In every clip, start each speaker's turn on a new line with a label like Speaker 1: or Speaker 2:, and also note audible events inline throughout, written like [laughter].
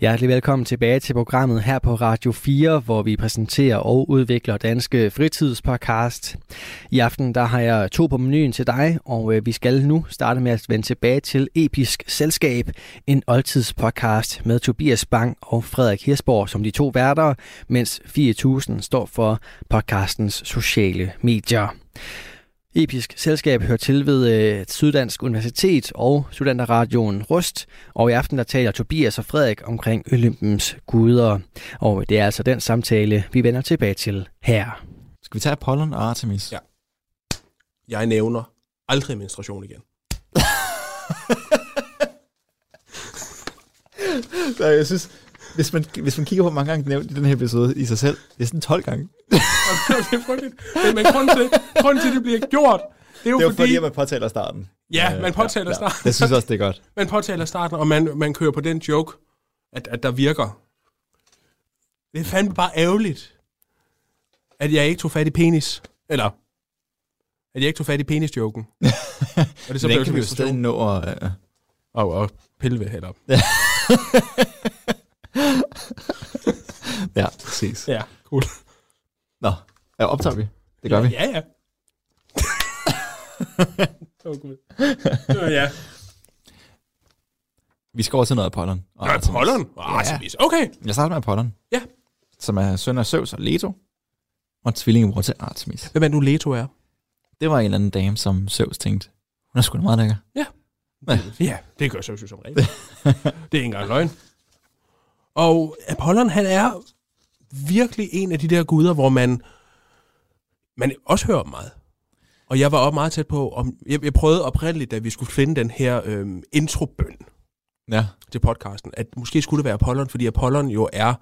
Speaker 1: Hjertelig velkommen tilbage til programmet her på Radio 4, hvor vi præsenterer og udvikler danske fritidspodcast. I aften der har jeg to på menuen til dig, og øh, vi skal nu starte med at vende tilbage til Episk Selskab, en oldtidspodcast med Tobias Bang og Frederik Hirsborg som de to værter, mens 4000 står for podcastens sociale medier. Episk Selskab hører til ved øh, Syddansk Universitet og Studenterradioen Rust, og i aften der taler Tobias og Frederik omkring Olympens guder. Og det er altså den samtale, vi vender tilbage til her.
Speaker 2: Skal vi tage Apollon og Artemis?
Speaker 3: Ja. Jeg nævner aldrig menstruation igen.
Speaker 2: Nej, jeg synes, hvis man, hvis man kigger på, hvor mange gange nævnt i den her episode i sig selv, det er sådan 12 gange.
Speaker 3: [laughs] det er frygteligt. Men, men grunden, til, grunden til, at det bliver gjort, det er jo
Speaker 2: Det er jo
Speaker 3: fordi,
Speaker 2: fordi, at man påtaler starten.
Speaker 3: Ja, man påtaler starten.
Speaker 2: Jeg synes også, det er godt.
Speaker 3: man påtaler starten, og man, man kører på den joke, at, at der virker. Det er fandme bare ærgerligt, at jeg ikke tog fat i penis. Eller, at jeg ikke tog fat i penis-joken. og det
Speaker 2: Så den
Speaker 3: blev
Speaker 2: kan
Speaker 3: til
Speaker 2: vi jo stadig
Speaker 3: frustration.
Speaker 2: nå at... øh,
Speaker 3: Og, og pille ved heller.
Speaker 2: Ja, præcis.
Speaker 3: Ja, cool.
Speaker 2: Nå, ja, optager vi? Det gør vi.
Speaker 3: Ja, ja. Åh, oh, gud. Nå, ja.
Speaker 2: Vi skal over til noget Apollon. Og
Speaker 3: Nå,
Speaker 2: Artemis.
Speaker 3: Apollon.
Speaker 2: Ja.
Speaker 3: Artemis. Okay.
Speaker 2: Jeg starter med Apollon.
Speaker 3: Ja.
Speaker 2: Som er søn af Zeus og Leto. Og tvillingebror til Artemis.
Speaker 3: Hvem er nu Leto er?
Speaker 2: Det var en eller anden dame, som Zeus tænkte, hun er sgu da meget lækker.
Speaker 3: Ja, det gør Zeus jo som regel. det er ikke engang løgn. Og Apollon, han er virkelig en af de der guder, hvor man, man også hører om meget. Og jeg var også meget tæt på, om, jeg, jeg prøvede oprindeligt, da vi skulle finde den her øhm, introbøn
Speaker 2: Ja.
Speaker 3: til podcasten, at måske skulle det være Apollon, fordi Apollon jo er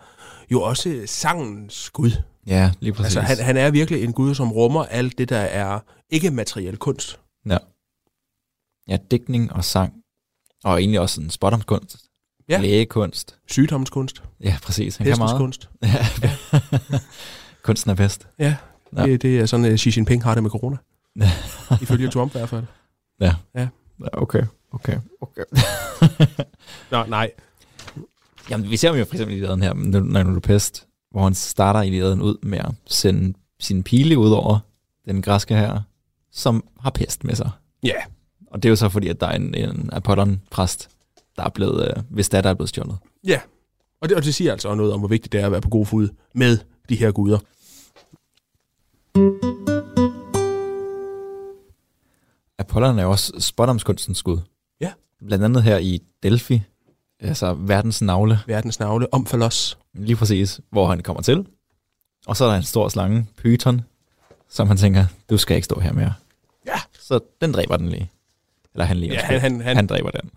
Speaker 3: jo også sangens gud.
Speaker 2: Ja, lige præcis.
Speaker 3: Altså, han, han er virkelig en gud, som rummer alt det, der er ikke materiel kunst.
Speaker 2: Ja. Ja, digtning og sang. Og egentlig også sådan spottomskunst.
Speaker 3: Ja.
Speaker 2: Ja. Lægekunst.
Speaker 3: Sygdomskunst,
Speaker 2: Ja, præcis. Han kan
Speaker 3: hestens
Speaker 2: meget.
Speaker 3: kunst.
Speaker 2: Ja. Kunsten er bedst.
Speaker 3: Ja,
Speaker 2: Ja.
Speaker 3: Det, det er sådan, at Xi Jinping har det med
Speaker 2: [laughs]
Speaker 3: corona.
Speaker 2: Ja.
Speaker 3: Ifølge Trump i hvert fald.
Speaker 2: Ja, okay. Okay. okay.
Speaker 3: Nå, nej.
Speaker 2: [laughs] Jamen, vi ser ham jo for eksempel i laden her, men når når du er pest, hvor han starter i laden ud med at sende sin pile ud over den græske her, som har pest med sig.
Speaker 3: Ja,
Speaker 2: Og det er jo så fordi, at der er en, en Apollon-præst, der er blevet, øh, hvis der, der er blevet stjålet.
Speaker 3: ja. Og det, og det siger altså også noget om, hvor vigtigt det er at være på god fod med de her guder.
Speaker 2: Apollon er jo også spottomskunstens skud.
Speaker 3: Ja.
Speaker 2: Blandt andet her i Delphi, altså verdens navle,
Speaker 3: Verdens navle, omfalos.
Speaker 2: Lige præcis, hvor han kommer til. Og så er der en stor slange, Python, som han tænker, du skal ikke stå her mere.
Speaker 3: Ja.
Speaker 2: Så den dræber den lige. Eller han lige.
Speaker 3: Ja,
Speaker 2: undskyld.
Speaker 3: han, han, han,
Speaker 2: han dræber den.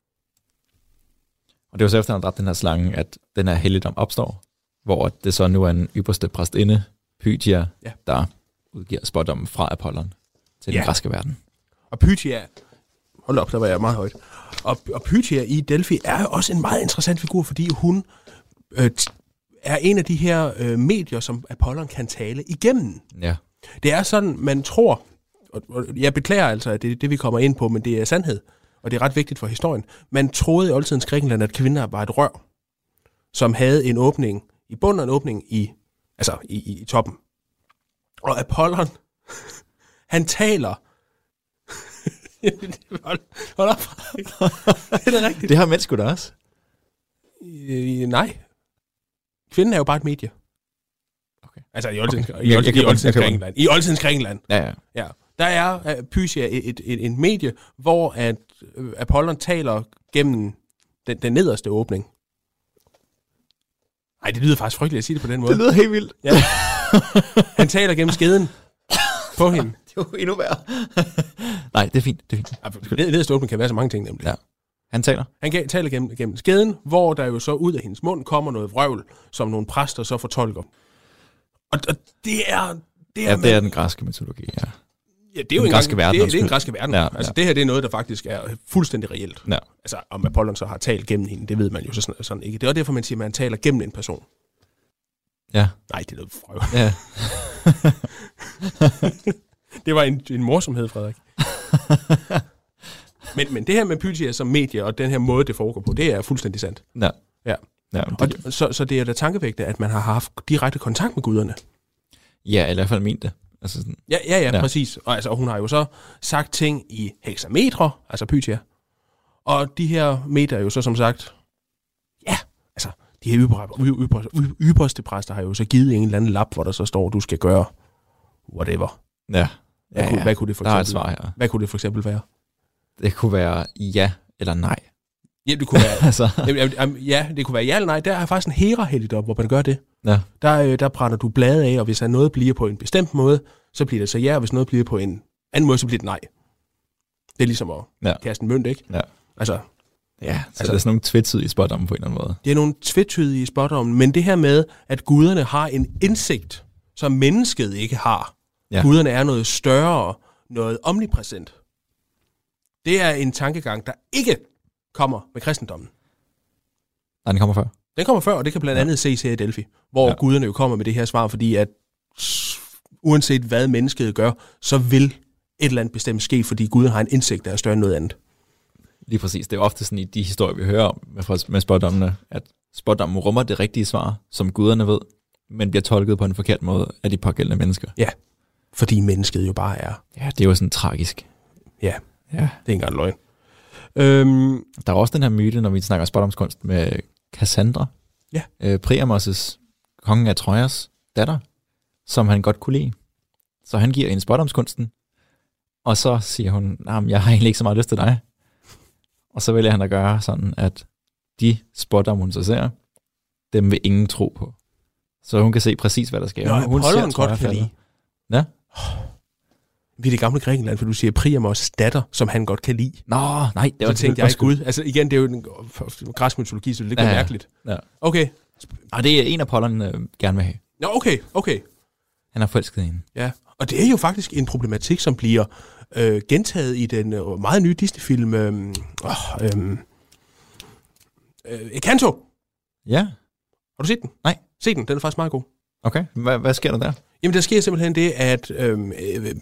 Speaker 2: Og det var så efter, han dræbte den her slange, at den her helligdom opstår, hvor det så nu er en ypperste præstinde, Pythia,
Speaker 3: Ja.
Speaker 2: ja. der udgiver spådommen fra Apollon til ja.
Speaker 3: Ja.
Speaker 2: den græske verden.
Speaker 3: og Pythia. Hold op, der var jeg meget højt. Og, og Pythia i Delphi er jo også en meget interessant figur, fordi hun øh, t- er en af de her øh, medier, som Apollon kan tale igennem.
Speaker 2: Ja.
Speaker 3: Det er sådan, man tror, og og jeg beklager altså, at det er det, vi kommer ind på, men det er sandhed, og det er ret vigtigt for historien. Man troede i oldtidens Grækenland, at kvinder var et rør, som havde en åbning i bunden og en åbning i, altså i, i, i toppen. Og Apollon, [laughs] han taler... [laughs] hold, hold op, [laughs] Frederik. Det er da rigtigt.
Speaker 2: Det har mænd sgu da også.
Speaker 3: Øh, nej. Kvinden er jo bare et medie.
Speaker 2: Okay.
Speaker 3: Altså i oldtidens
Speaker 2: Okay.
Speaker 3: i
Speaker 2: Jeg- jeg
Speaker 3: old- i
Speaker 2: køber den, jeg
Speaker 3: oldtidens
Speaker 2: køber den.
Speaker 3: Grækenland. I oldtidens Grækenland.
Speaker 2: Ja, ja.
Speaker 3: Ja, der er uh, Pythia et, et, et, en medie, hvor at øh, Apollon taler gennem den, den nederste åbning. Nej, det lyder faktisk frygteligt at sige det på den måde.
Speaker 2: lyder helt vildt.
Speaker 3: Ja. Han taler gennem
Speaker 2: [laughs]
Speaker 3: skeden på hende.
Speaker 2: Det er jo endnu værre. [laughs] Nej, det er fint. Det er fint.
Speaker 3: Ej, for ned- Nederste åbning kan være så mange ting nemlig.
Speaker 2: Ja. Han taler.
Speaker 3: Han ga- taler gennem, gennem skeden, hvor der jo så ud af hendes mund kommer noget vrøvl, som nogle præster så fortolker. Og, og det er... Det
Speaker 2: Ja, det
Speaker 3: er,
Speaker 2: er
Speaker 3: man-
Speaker 2: den græske mytologi, ja.
Speaker 3: ja, det er jo
Speaker 2: den
Speaker 3: en
Speaker 2: græske verden,
Speaker 3: Det, er- det er en
Speaker 2: undskyld.
Speaker 3: græske verden.
Speaker 2: Ja,
Speaker 3: Ja, altså,
Speaker 2: ja.
Speaker 3: det her det er noget, der faktisk er fuldstændig reelt.
Speaker 2: ja.
Speaker 3: altså om Apollon så har talt gennem hende, det ved man jo så sådan, sådan ikke. Det er også derfor, man siger, at man taler gennem en person.
Speaker 2: Ja,
Speaker 3: Nej, det er noget frøv.
Speaker 2: ja.
Speaker 3: [laughs] Det var en, en morsomhed, Frederik. men, men det her med Pythia som medie, og den her måde, det foregår på, det er fuldstændig sandt.
Speaker 2: ja.
Speaker 3: Ja.
Speaker 2: Ja,
Speaker 3: Og,
Speaker 2: det,
Speaker 3: d- så, så det er da tankevægtende, at man har haft direkte kontakt med guderne.
Speaker 2: ja, eller i hvert fald ment det. Altså sådan,
Speaker 3: Ja, ja, ja,
Speaker 2: Ja.
Speaker 3: ja. præcis. Og altså, hun har jo så sagt ting i hexametre, altså Pythia. Og de her meter er jo så som sagt, ja, altså, de her ypper, y- ypper, y- ypperste præster har jo så givet en eller anden lap, hvor der så står, du skal gøre whatever.
Speaker 2: ja.
Speaker 3: Hvad, ja, kunne, hvad kunne det for
Speaker 2: der er et
Speaker 3: eksempel,
Speaker 2: svar her.
Speaker 3: hvad kunne det for eksempel være?
Speaker 2: Det kunne være ja eller nej. [laughs]
Speaker 3: Ja, det kunne være,
Speaker 2: altså,
Speaker 3: Jamen, jamen, jamen, ja, det kunne være ja eller nej. Der er faktisk en hera op, hvor man gør det.
Speaker 2: ja.
Speaker 3: Der, øh, der brænder du blade af, og hvis der noget bliver på en bestemt måde, så bliver det så ja, og hvis noget bliver på en anden måde, så bliver det nej. Det er ligesom at
Speaker 2: Ja.
Speaker 3: ja. kaste en mønt, ikke?
Speaker 2: Ja.
Speaker 3: Altså,
Speaker 2: Ja, så altså,
Speaker 3: Altså-
Speaker 2: der er sådan nogle tvetydige spådomme på en eller anden måde.
Speaker 3: det er nogle tvetydige spådomme, men det her med, at guderne har en indsigt, som mennesket ikke har.
Speaker 2: Ja.
Speaker 3: Ja. Guderne er noget større, noget omnipræsent. Det er en tankegang, der ikke kommer med kristendommen.
Speaker 2: Nej, den kommer før.
Speaker 3: Den kommer før, og det kan blandt andet ses her i Delphi, hvor
Speaker 2: Ja.
Speaker 3: ja. guderne jo kommer med det her svar, fordi at s- uanset hvad mennesket gør, så vil et eller andet bestemt ske, fordi Gud har en indsigt, der er større end noget andet.
Speaker 2: Lige præcis. Det er ofte sådan i de historier, vi hører om med, fra- med spådommene, at spådommen rummer det rigtige svar, som guderne ved, men bliver tolket på en forkert måde af de pågældende mennesker.
Speaker 3: Ja, fordi mennesket jo bare er.
Speaker 2: Ja, det er jo sådan tragisk.
Speaker 3: Ja,
Speaker 2: Ja.
Speaker 3: det er ikke engang løgn. Øhm,
Speaker 2: Der er også den her myte, når vi snakker spådomskunst med Cassandra.
Speaker 3: Ja.
Speaker 2: Øh, Priamos' kongen af Trojas datter, som han godt kunne lide. Så han giver hende spådomskunsten, og så siger hun, at jeg har egentlig ikke så meget lyst til dig. Og så vælger han at gøre sådan, at de spådomme, hun så ser, dem vil ingen tro på. Så hun kan se præcis, hvad der sker.
Speaker 3: Nå,
Speaker 2: hun, hun
Speaker 3: Apollon
Speaker 2: Troja
Speaker 3: godt kan
Speaker 2: falde.
Speaker 3: lide.
Speaker 2: Ja.
Speaker 3: Vi er det gamle Grækenland, for du siger Priamos datter, som han godt kan lide.
Speaker 2: Nå, nej, det var
Speaker 3: Så tænkte jeg, gud, altså igen, det er jo en græsk mytologi, så det er lidt
Speaker 2: Ja,
Speaker 3: ja,
Speaker 2: ja.
Speaker 3: mærkeligt.
Speaker 2: Ja.
Speaker 3: Okay,
Speaker 2: Og det er en Apollon øh, gerne vil have.
Speaker 3: Nå, okay, okay.
Speaker 2: Han har forelsket i hende.
Speaker 3: Ja, og det er jo faktisk en problematik, som bliver øh, gentaget i den øh, meget nye Disney-film, øh, øh, øh, Encanto.
Speaker 2: Ja,
Speaker 3: Har du set den?
Speaker 2: Nej.
Speaker 3: Se den, den er faktisk meget god.
Speaker 2: okay. Hvad, hvad sker der der?
Speaker 3: Jamen, der sker simpelthen det, at øh, øh,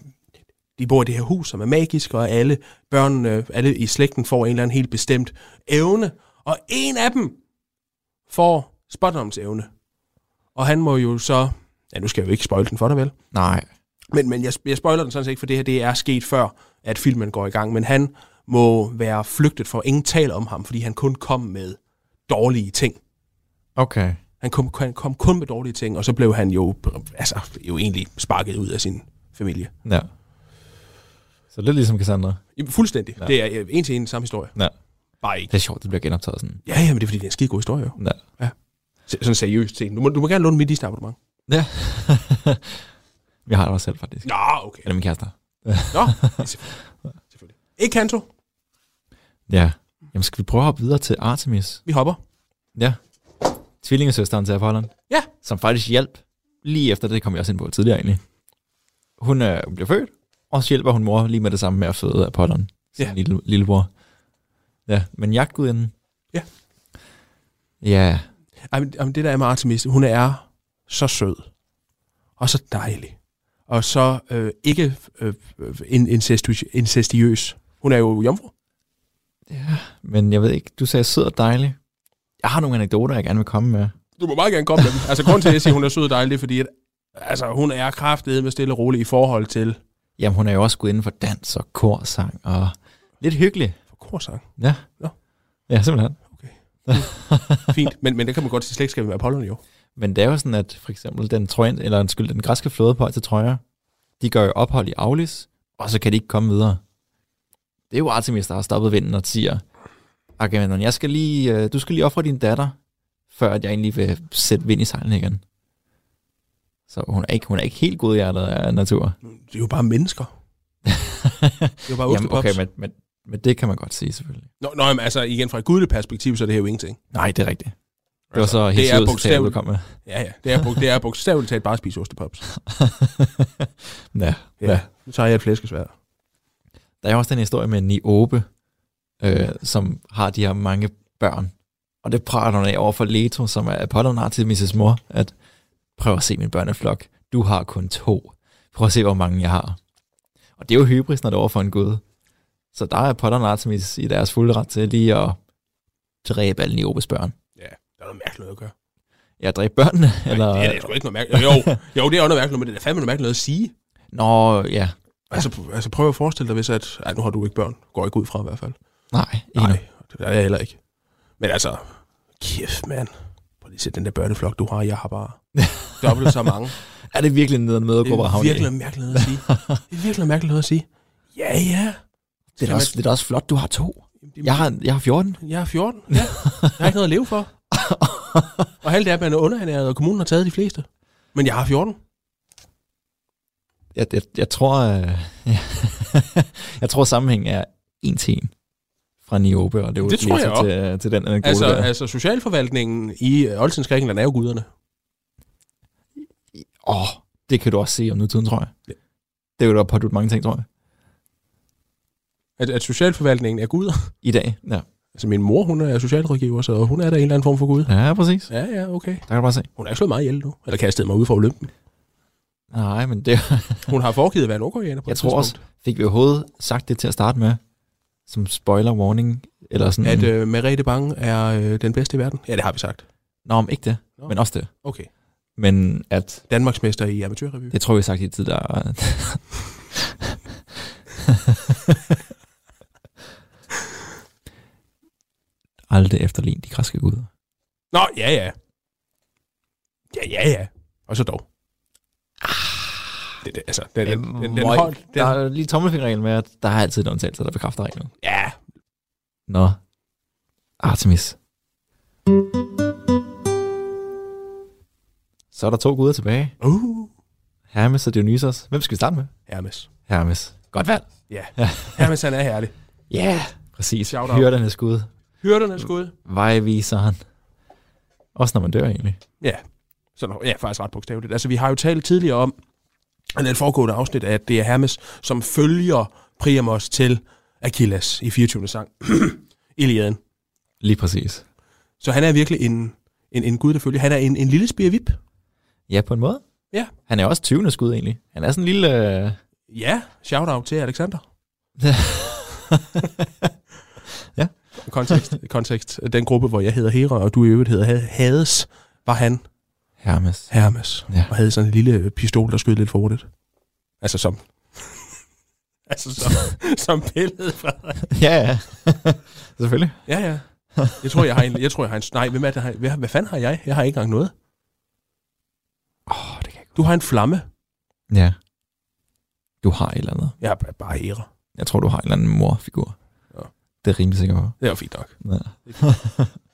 Speaker 3: de bor i det her hus, som er magisk, og alle børn, øh, alle i slægten får en eller anden helt bestemt evne, og en af dem får spotdomsevne. Og han må jo så... Ja, nu skal jeg jo ikke spoil den for dig, vel?
Speaker 2: Nej.
Speaker 3: Men, men jeg, jeg spoiler den sådan set ikke, for det her det er sket før, at filmen går i gang. Men han må være flygtet for, ingen taler om ham, fordi han kun kom med dårlige ting.
Speaker 2: Okay.
Speaker 3: Han kom, han kom kun med dårlige ting, og så blev han jo, altså, jo egentlig sparket ud af sin familie.
Speaker 2: Ja. Så lidt ligesom Cassandra.
Speaker 3: Jamen, fuldstændig. Ja. Det er øh, en til en samme historie.
Speaker 2: Ja.
Speaker 3: Bare
Speaker 2: Det
Speaker 3: ikke.
Speaker 2: er sjovt, det bliver genoptaget sådan.
Speaker 3: Ja, ja, men det er fordi, det er en skide god historie jo.
Speaker 2: Ja.
Speaker 3: Se- Sådan seriøst til. Du må, du må gerne låne mit Disney-abonnement.
Speaker 2: ja. jeg har det også selv, faktisk.
Speaker 3: Nå, okay.
Speaker 2: Eller min kæreste. har.
Speaker 3: [laughs] Nå, ja, selvfølgelig. selvfølgelig. Ikke Kanto.
Speaker 2: Ja. Jamen, skal vi prøve at hoppe videre til Artemis?
Speaker 3: Vi hopper.
Speaker 2: Ja. Tvillingesøsteren til Apollon.
Speaker 3: Ja.
Speaker 2: Som faktisk hjalp lige efter det, kom jeg også ind på tidligere egentlig. Hun øh, bliver født, og så hjælper hun mor lige med det samme med at føde Apollon. Sin
Speaker 3: Ja.
Speaker 2: lille, lillebror. Ja, men jagtgudinden.
Speaker 3: Ja.
Speaker 2: Ja,
Speaker 3: Ej, men- Jamen, det der er med Artemis, hun er så sød, og så dejlig, og så øh, ikke øh, øh, in- incestu- incestiøs. Hun er jo jomfru.
Speaker 2: men jeg ved ikke, du sagde sød og dejlig. Jeg har nogle anekdoter, jeg gerne vil komme med.
Speaker 3: Du må meget gerne komme med dem. Altså, grunden til, at jeg siger, at hun er sød og dejlig, det er fordi, at, altså, hun er kraftedet med stille og roligt i forhold til
Speaker 2: Jamen, hun er jo også gået inden for dans og korsang og lidt hyggelig.
Speaker 3: for korsang.
Speaker 2: Ja.
Speaker 3: Nå.
Speaker 2: Ja, simpelthen.
Speaker 3: Fint, men, men det kan man godt til slægtskab med Apollon jo.
Speaker 2: Men det er jo sådan, at for eksempel den, trøjen, eller undskyld, den græske flåde på vej til Troja, de gør jo ophold i Aulis, og så kan de ikke komme videre. Det er jo Artemis, der har stoppet vinden og siger, Agamemnon, jeg skal lige, øh, du skal lige ofre din datter, før at jeg egentlig vil sætte vind i sejlene igen. Så hun er ikke, hun er ikke helt godhjertet af natur. [laughs]
Speaker 3: Det er jo bare mennesker. Det er jo bare
Speaker 2: Jamen,
Speaker 3: ostepops.
Speaker 2: okay,
Speaker 3: Okay, men...
Speaker 2: men, men, men det kan man godt sige selvfølgelig.
Speaker 3: Nå, nå, jamen, altså, igen, fra et gudeligt perspektiv, så er det her jo ingenting.
Speaker 2: Nej, det er rigtigt. Det var
Speaker 3: Altså,
Speaker 2: så
Speaker 3: det
Speaker 2: helt ud til,
Speaker 3: er
Speaker 2: at du
Speaker 3: bogstaveligt.
Speaker 2: kom med. [laughs]
Speaker 3: Altså, Ja, ja, det er, bog- det er bogstaveligt talt bare at spise ostepops.
Speaker 2: ja, ja.
Speaker 3: Nu tager jeg et flæskesvær.
Speaker 2: Der er også den historie med Niobe, øh, som har de her mange børn. Og det prater hun af over for Leto, som er Apollon Artemis' mor, at prøv at se min børneflok, du har kun to. Prøv at se, hvor mange jeg har. Og det er jo hybris, når det er over for en gud. Så der er Potter og Artemis i deres fulde ret til lige at dræbe alle Niobes børn.
Speaker 3: Ja, der er noget mærkeligt noget at gøre.
Speaker 2: Jeg dræbe børnene, eller...
Speaker 3: Eller... Det er da sgu ikke noget mærkeligt. Jo, jo, det er også noget mærkeligt, men det er da fandme noget mærkeligt noget at sige.
Speaker 2: Nå, ja.
Speaker 3: Altså, pr- altså prøv at forestille dig, hvis at... Ej, nu har du ikke børn. Går ikke ud fra i hvert fald.
Speaker 2: Nej, ikke
Speaker 3: Nej,
Speaker 2: nu.
Speaker 3: det er jeg heller ikke. Men altså, kæft, mand. Prøv lige at se den der børneflok, du har. Jeg har
Speaker 2: [laughs]
Speaker 3: bare dobbelt så mange.
Speaker 2: Er det virkelig en nederen
Speaker 3: Det
Speaker 2: mødergruppe at
Speaker 3: er
Speaker 2: havne i?
Speaker 3: virkelig mærkeligt noget at
Speaker 2: [laughs]
Speaker 3: sige. Det er virkelig mærkeligt noget at sige. Ja, ja.
Speaker 2: Det er, da også, det er da også flot, du har to. Jeg har, jeg har 14.
Speaker 3: Jeg er 14. Ja. Jeg har ikke noget at leve
Speaker 2: [laughs]
Speaker 3: for. og halvt af dem er underernæret, og kommunen har taget de fleste. Men jeg har 14.
Speaker 2: Jeg, jeg, jeg tror, øh, [laughs] jeg tror sammenhængen er en til en fra Niobe, og det, er jo
Speaker 3: Det tror
Speaker 2: lige
Speaker 3: jeg
Speaker 2: til, til, til den anekdote
Speaker 3: Altså,
Speaker 2: altså, der.
Speaker 3: altså socialforvaltningen i øh, Olsens Grækenland er jo guderne.
Speaker 2: Åh, oh, det kan du også se om nutiden, tror jeg. Det vil du pådute mange ting, tror jeg.
Speaker 3: Altså, At, at socialforvaltningen er guder.
Speaker 2: I dag, ja.
Speaker 3: Altså, min mor, hun er socialrådgiver, så hun er der en eller anden form for gud.
Speaker 2: Ja, præcis.
Speaker 3: Ja, ja, okay.
Speaker 2: Der kan du bare se.
Speaker 3: Hun er ikke slået meget ihjel nu. Eller kastet mig ud fra Olympen.
Speaker 2: Nej, men det, [laughs]
Speaker 3: Hun har foregivet at være nordkoreaner på
Speaker 2: jeg
Speaker 3: et
Speaker 2: tror også,
Speaker 3: tidspunkt.
Speaker 2: fik vi overhovedet sagt det til at starte med, som spoiler warning, eller sådan,
Speaker 3: At øh, Merete Bang er øh, den bedste i verden. Ja, det har vi sagt.
Speaker 2: nå, men ikke det,
Speaker 3: Nå.
Speaker 2: men også det.
Speaker 3: Okay.
Speaker 2: Men at
Speaker 3: Danmarksmester i amatørrevy.
Speaker 2: Det tror jeg, vi har sagt i tid, der... [laughs] Aldrig efterlign de græske guder.
Speaker 3: Nå, ja, ja. Ja, ja, ja. Og så dog. Ah. Det, det, altså, den, den, den, den,
Speaker 2: Møg.
Speaker 3: hold, den,
Speaker 2: Der er lige tommelfingerregel med, at der er altid en undtagelse, der bekræfter reglen.
Speaker 3: ja,
Speaker 2: Nå. Artemis. Så er der to guder tilbage.
Speaker 3: uh,
Speaker 2: Hermes og Dionysos. Hvem skal vi starte med?
Speaker 3: Hermes.
Speaker 2: Hermes. Godt valg.
Speaker 3: Ja, Hermes han er herlig.
Speaker 2: Ja, yeah. præcis.
Speaker 3: Shout out.
Speaker 2: Hyrdernes gud.
Speaker 3: Hyrderne skud.
Speaker 2: Vejviseren. Også når man dør, egentlig.
Speaker 3: Ja, sådan, ja, faktisk ret bogstaveligt. Altså, vi har jo talt tidligere om, i den foregående afsnit, at det er Hermes, som følger Priamos til Achilles i 24. sang. [clears throat] Iliaden.
Speaker 2: Lige præcis.
Speaker 3: Så han er virkelig en, en, en gud, der følger. Han er en, en lille spirvip.
Speaker 2: Ja, på en måde.
Speaker 3: Ja.
Speaker 2: Han er også 20. skud egentlig. Han er sådan en [laughs] lille... Øh...
Speaker 3: Ja, shout-out til Alexander.
Speaker 2: Ja.
Speaker 3: Kontekst, [laughs] kontekst. Den gruppe, hvor jeg hedder Hera, og du i øvrigt hedder Ha- Hades, var han
Speaker 2: Hermes.
Speaker 3: Hermes.
Speaker 2: Ja.
Speaker 3: Og havde sådan en lille øh, pistol, der skød lidt for hurtigt. Altså som... [laughs] altså som, som billede fra...
Speaker 2: [laughs] ja, ja. [laughs] Selvfølgelig.
Speaker 3: Ja, ja. Jeg tror, jeg har en... Jeg tror, jeg har en nej, hvem er det? har- Hvad, hvad fanden har jeg? Jeg har ikke engang noget.
Speaker 2: Åh, oh, det kan jeg
Speaker 3: Du har en flamme.
Speaker 2: godt. Ja. Du har et eller andet.
Speaker 3: Jeg er bare- bare Hera.
Speaker 2: Jeg tror, du har en eller anden morfigur.
Speaker 3: Ja.
Speaker 2: Det er rimelig sikker på.
Speaker 3: Det er jo fint nok.
Speaker 2: Ja.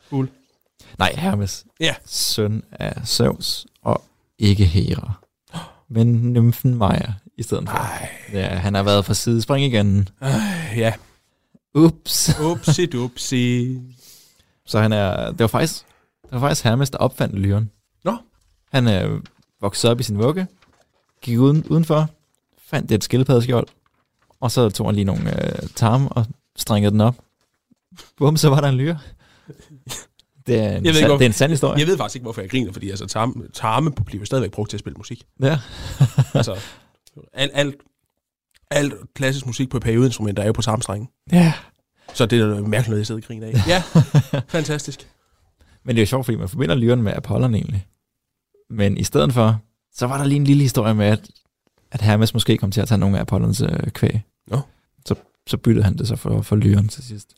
Speaker 3: Cool.
Speaker 2: Nej, Hermes.
Speaker 3: Ja.
Speaker 2: Søn af Zeus og ikke Hera. [gasps] Men nymfen Maja i stedet for.
Speaker 3: Ej,
Speaker 2: Ja, han har været for sidespring igen.
Speaker 3: ja.
Speaker 2: Ups.
Speaker 3: Upsi dupsi.
Speaker 2: Så han er, det var faktisk, det var faktisk Hermes, der opfandt lyren.
Speaker 3: Nå.
Speaker 2: Han øh, voksede op i sin vugge, gik uden, udenfor, fandt et skildpaddeskjold, og så tog han lige nogle øh, tarme og strengede den op. Bum, så var der en lyre. Det er en,
Speaker 3: ved ikke,
Speaker 2: sand,
Speaker 3: hvorfor-
Speaker 2: det er en sand historie.
Speaker 3: Jeg ved faktisk ikke, hvorfor jeg griner, fordi altså, tarme, tarme bliver stadigvæk brugt til at spille musik.
Speaker 2: Ja.
Speaker 3: Altså, alt, alt, alt klassisk musik på periodeinstrumenter er jo på tarmstrengen.
Speaker 2: ja.
Speaker 3: Så det er noget mærkeligt noget, jeg sidder og griner af. Ja, fantastisk.
Speaker 2: Men det er jo sjovt, fordi man forbinder lyren med Apollon egentlig. Men i stedet for, så var der lige en lille historie med, at, at Hermes måske kom til at tage nogle af Apollons øh, kvæg.
Speaker 3: Nå.
Speaker 2: Så, så byttede han det så for, for lyren til sidst.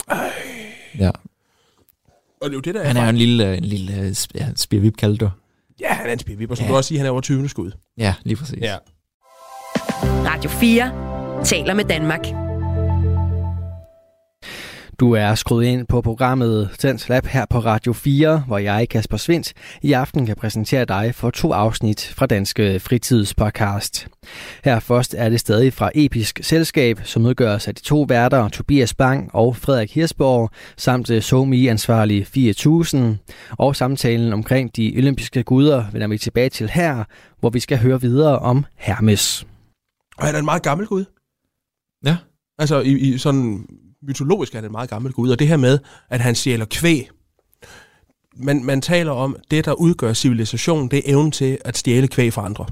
Speaker 2: Ja.
Speaker 3: Og det er jo det, der
Speaker 2: Han er jo
Speaker 3: er...
Speaker 2: en lille, en lille øh, sp- ja, spirvip, kaldte du.
Speaker 3: Ja, han er en spirvipper, som
Speaker 2: Ja.
Speaker 3: du også siger, han er over 20. skud.
Speaker 2: Ja, lige præcis.
Speaker 3: Ja.
Speaker 4: Radio 4 taler med Danmark.
Speaker 1: Du er skruet ind på programmet Dans Lab her på Radio 4, hvor jeg, Kasper Svindt, i aften kan præsentere dig for to afsnit fra Danske Fritidspodcast. Her først er det stadig fra Episk Selskab, som udgøres af de to værter Tobias Bang og Frederik Hirsborg, samt øh, SoMe-ansvarlige 4000. Og samtalen omkring de olympiske guder vender vi tilbage til her, hvor vi skal høre videre om Hermes.
Speaker 3: Og han er en meget gammel gud.
Speaker 2: Ja.
Speaker 3: Altså, i, i sådan mytologisk er han en meget gammel gud, og det her med, at han sjæler kvæg, man, man taler om, det der udgør civilisation, det er evnen til at stjæle kvæg fra andre.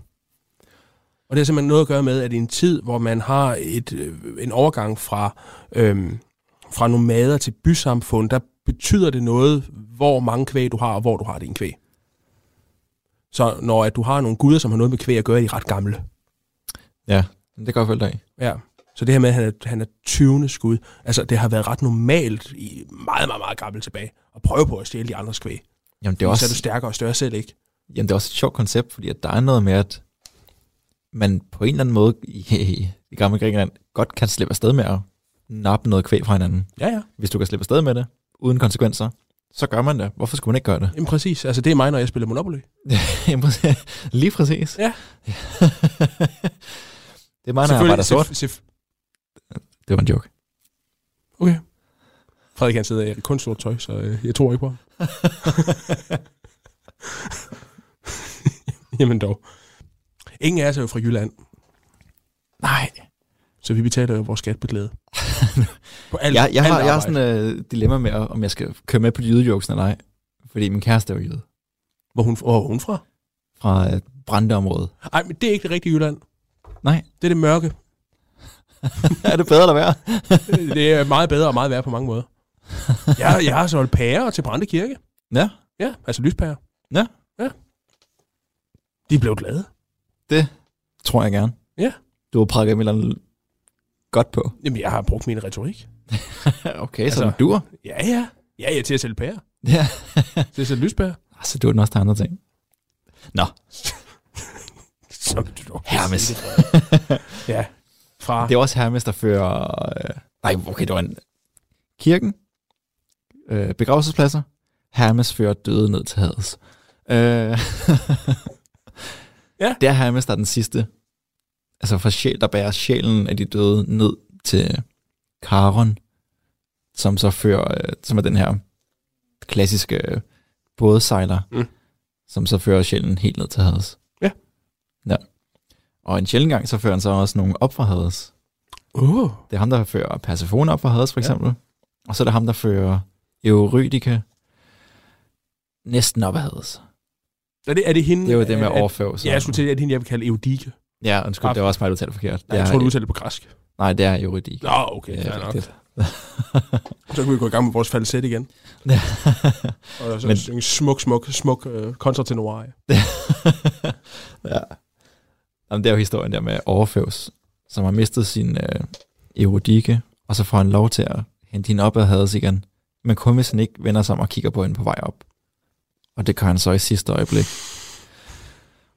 Speaker 3: Og det har simpelthen noget at gøre med, at i en tid, hvor man har et, øh, en overgang fra, øhm, fra nomader til bysamfund, der betyder det noget, hvor mange kvæg du har, og hvor du har din kvæg. Så når at du har nogle guder, som har noget med kvæg at gøre, er de ret gamle.
Speaker 2: Ja, det kan jeg godt følge dig i.
Speaker 3: Ja. Så det her med, at han er, han er 20. skud, altså det har været ret normalt i meget, meget, meget gammel tilbage, at prøve på at stjæle de andres kvæg.
Speaker 2: Jamen det,
Speaker 3: Det
Speaker 2: er
Speaker 3: også... Så er
Speaker 2: også,
Speaker 3: du stærkere og større selv, ikke?
Speaker 2: jamen, det er også et sjovt koncept, fordi at der er noget med, at man på en eller anden måde i, i [laughs] gamle Grækenland godt kan slippe afsted med at nappe noget kvæg fra hinanden.
Speaker 3: Ja, ja.
Speaker 2: Hvis du kan slippe afsted med det, uden konsekvenser, så gør man det. Hvorfor skulle man ikke gøre det? [laughs]
Speaker 3: Jamen, præcis. Altså det er mig, når jeg spiller Monopoly.
Speaker 2: Jamen, præcis. Lige præcis.
Speaker 3: Ja.
Speaker 2: [laughs] det er mig, der arbejder sort.
Speaker 3: sef- sef-
Speaker 2: Det var en joke.
Speaker 3: Okay. Frederik han sidder i kun sort tøj, så øh, jeg tror ikke på ham. [laughs] Jamen dog. Ingen af os er jo fra Jylland,
Speaker 2: Nej,
Speaker 3: så vi betaler jo vores skat
Speaker 2: [laughs]
Speaker 3: på glæde. på alt,
Speaker 2: jeg, jeg,
Speaker 3: alt
Speaker 2: har, jeg har
Speaker 3: arbejde.
Speaker 2: sådan et øh, dilemma med, om jeg skal køre med på jydejokes eller ej. Fordi min kæreste er jo jyde
Speaker 3: Hvor, hun, hvor er hun fra?
Speaker 2: fra øh, Brandeområdet.
Speaker 3: Ej, men det er ikke det rigtige Jylland.
Speaker 2: Nej. [laughs]
Speaker 3: Det er det mørke.
Speaker 2: er det bedre eller værre?
Speaker 3: Det er meget bedre og meget værre på mange
Speaker 2: [laughs]
Speaker 3: måder. Jeg, jeg har solgt pærer til Brande Kirke.
Speaker 2: Ja.
Speaker 3: Ja, altså lyspærer.
Speaker 2: Ja.
Speaker 3: Ja. De blev glade.
Speaker 2: Tror jeg gerne.
Speaker 3: Ja.
Speaker 2: Du har prakket mig godt
Speaker 3: [laughs]
Speaker 2: på.
Speaker 3: Jamen, jeg har brugt min retorik.
Speaker 2: okay,
Speaker 3: Altså-
Speaker 2: så den dur.
Speaker 3: Ja, ja. Ja, ja, til at sælge pærer.
Speaker 2: [laughs] Ja.
Speaker 3: Til at sælge lyspærer.
Speaker 2: Så dur den også til andre ting. Nå,
Speaker 3: Som du dog kan
Speaker 2: Hermes.
Speaker 3: sige det. ja, fra...
Speaker 2: Det er også Hermes, der fører... Øh, nej, okay, det var en... Kirken, øh, begravelsespladser, Hermes fører døde ned til Hades. Øh, [laughs]
Speaker 3: Ja.
Speaker 2: Det er Hermes, der er den sidste. Altså for sjæl, der bærer sjælen af de døde ned til Karon, som så fører, øh, som er den her klassiske øh, bådsejler,
Speaker 3: Mm.
Speaker 2: mm. som så fører sjælen helt ned til Hades.
Speaker 3: Ja.
Speaker 2: Ja. Og en sjældent gang, så fører han så også nogen op fra Hades.
Speaker 3: Uh,
Speaker 2: Det er ham, der fører Persefone op for Hades, for
Speaker 3: Ja.
Speaker 2: eksempel. Ja. Og så er det ham, der fører Eurydice næsten op af Hades.
Speaker 3: er, det, er det hende...
Speaker 2: Det er jo det med
Speaker 3: er- er-
Speaker 2: overførsel.
Speaker 3: Øh, Ja, jeg skulle til, at det er hende, jeg vil kalde Eudike.
Speaker 2: Ja, undskyld, det var også mig, der udtalte forkert. Det
Speaker 3: Nej, jeg
Speaker 2: er-
Speaker 3: tror, du udtaler det på græsk.
Speaker 2: Nej, det er Eurydice.
Speaker 3: Nå, okay,
Speaker 2: Ja,
Speaker 3: ja, nok.
Speaker 2: rigtigt.
Speaker 3: Så kan vi gå i gang med vores falset igen.
Speaker 2: Ja.
Speaker 3: Og så
Speaker 2: Men-
Speaker 3: Men... en smuk, smuk, smuk øh, koncertenoir.
Speaker 2: [laughs] ja. Jamen, det er jo historien der med Orfeus, som har mistet sin øh, Eurydice, og så får han lov til at hente hende op af Hades igen. Men kun hvis han ikke vender sig om og kigger på hende på vej op. Og det gør han så i sidste øjeblik.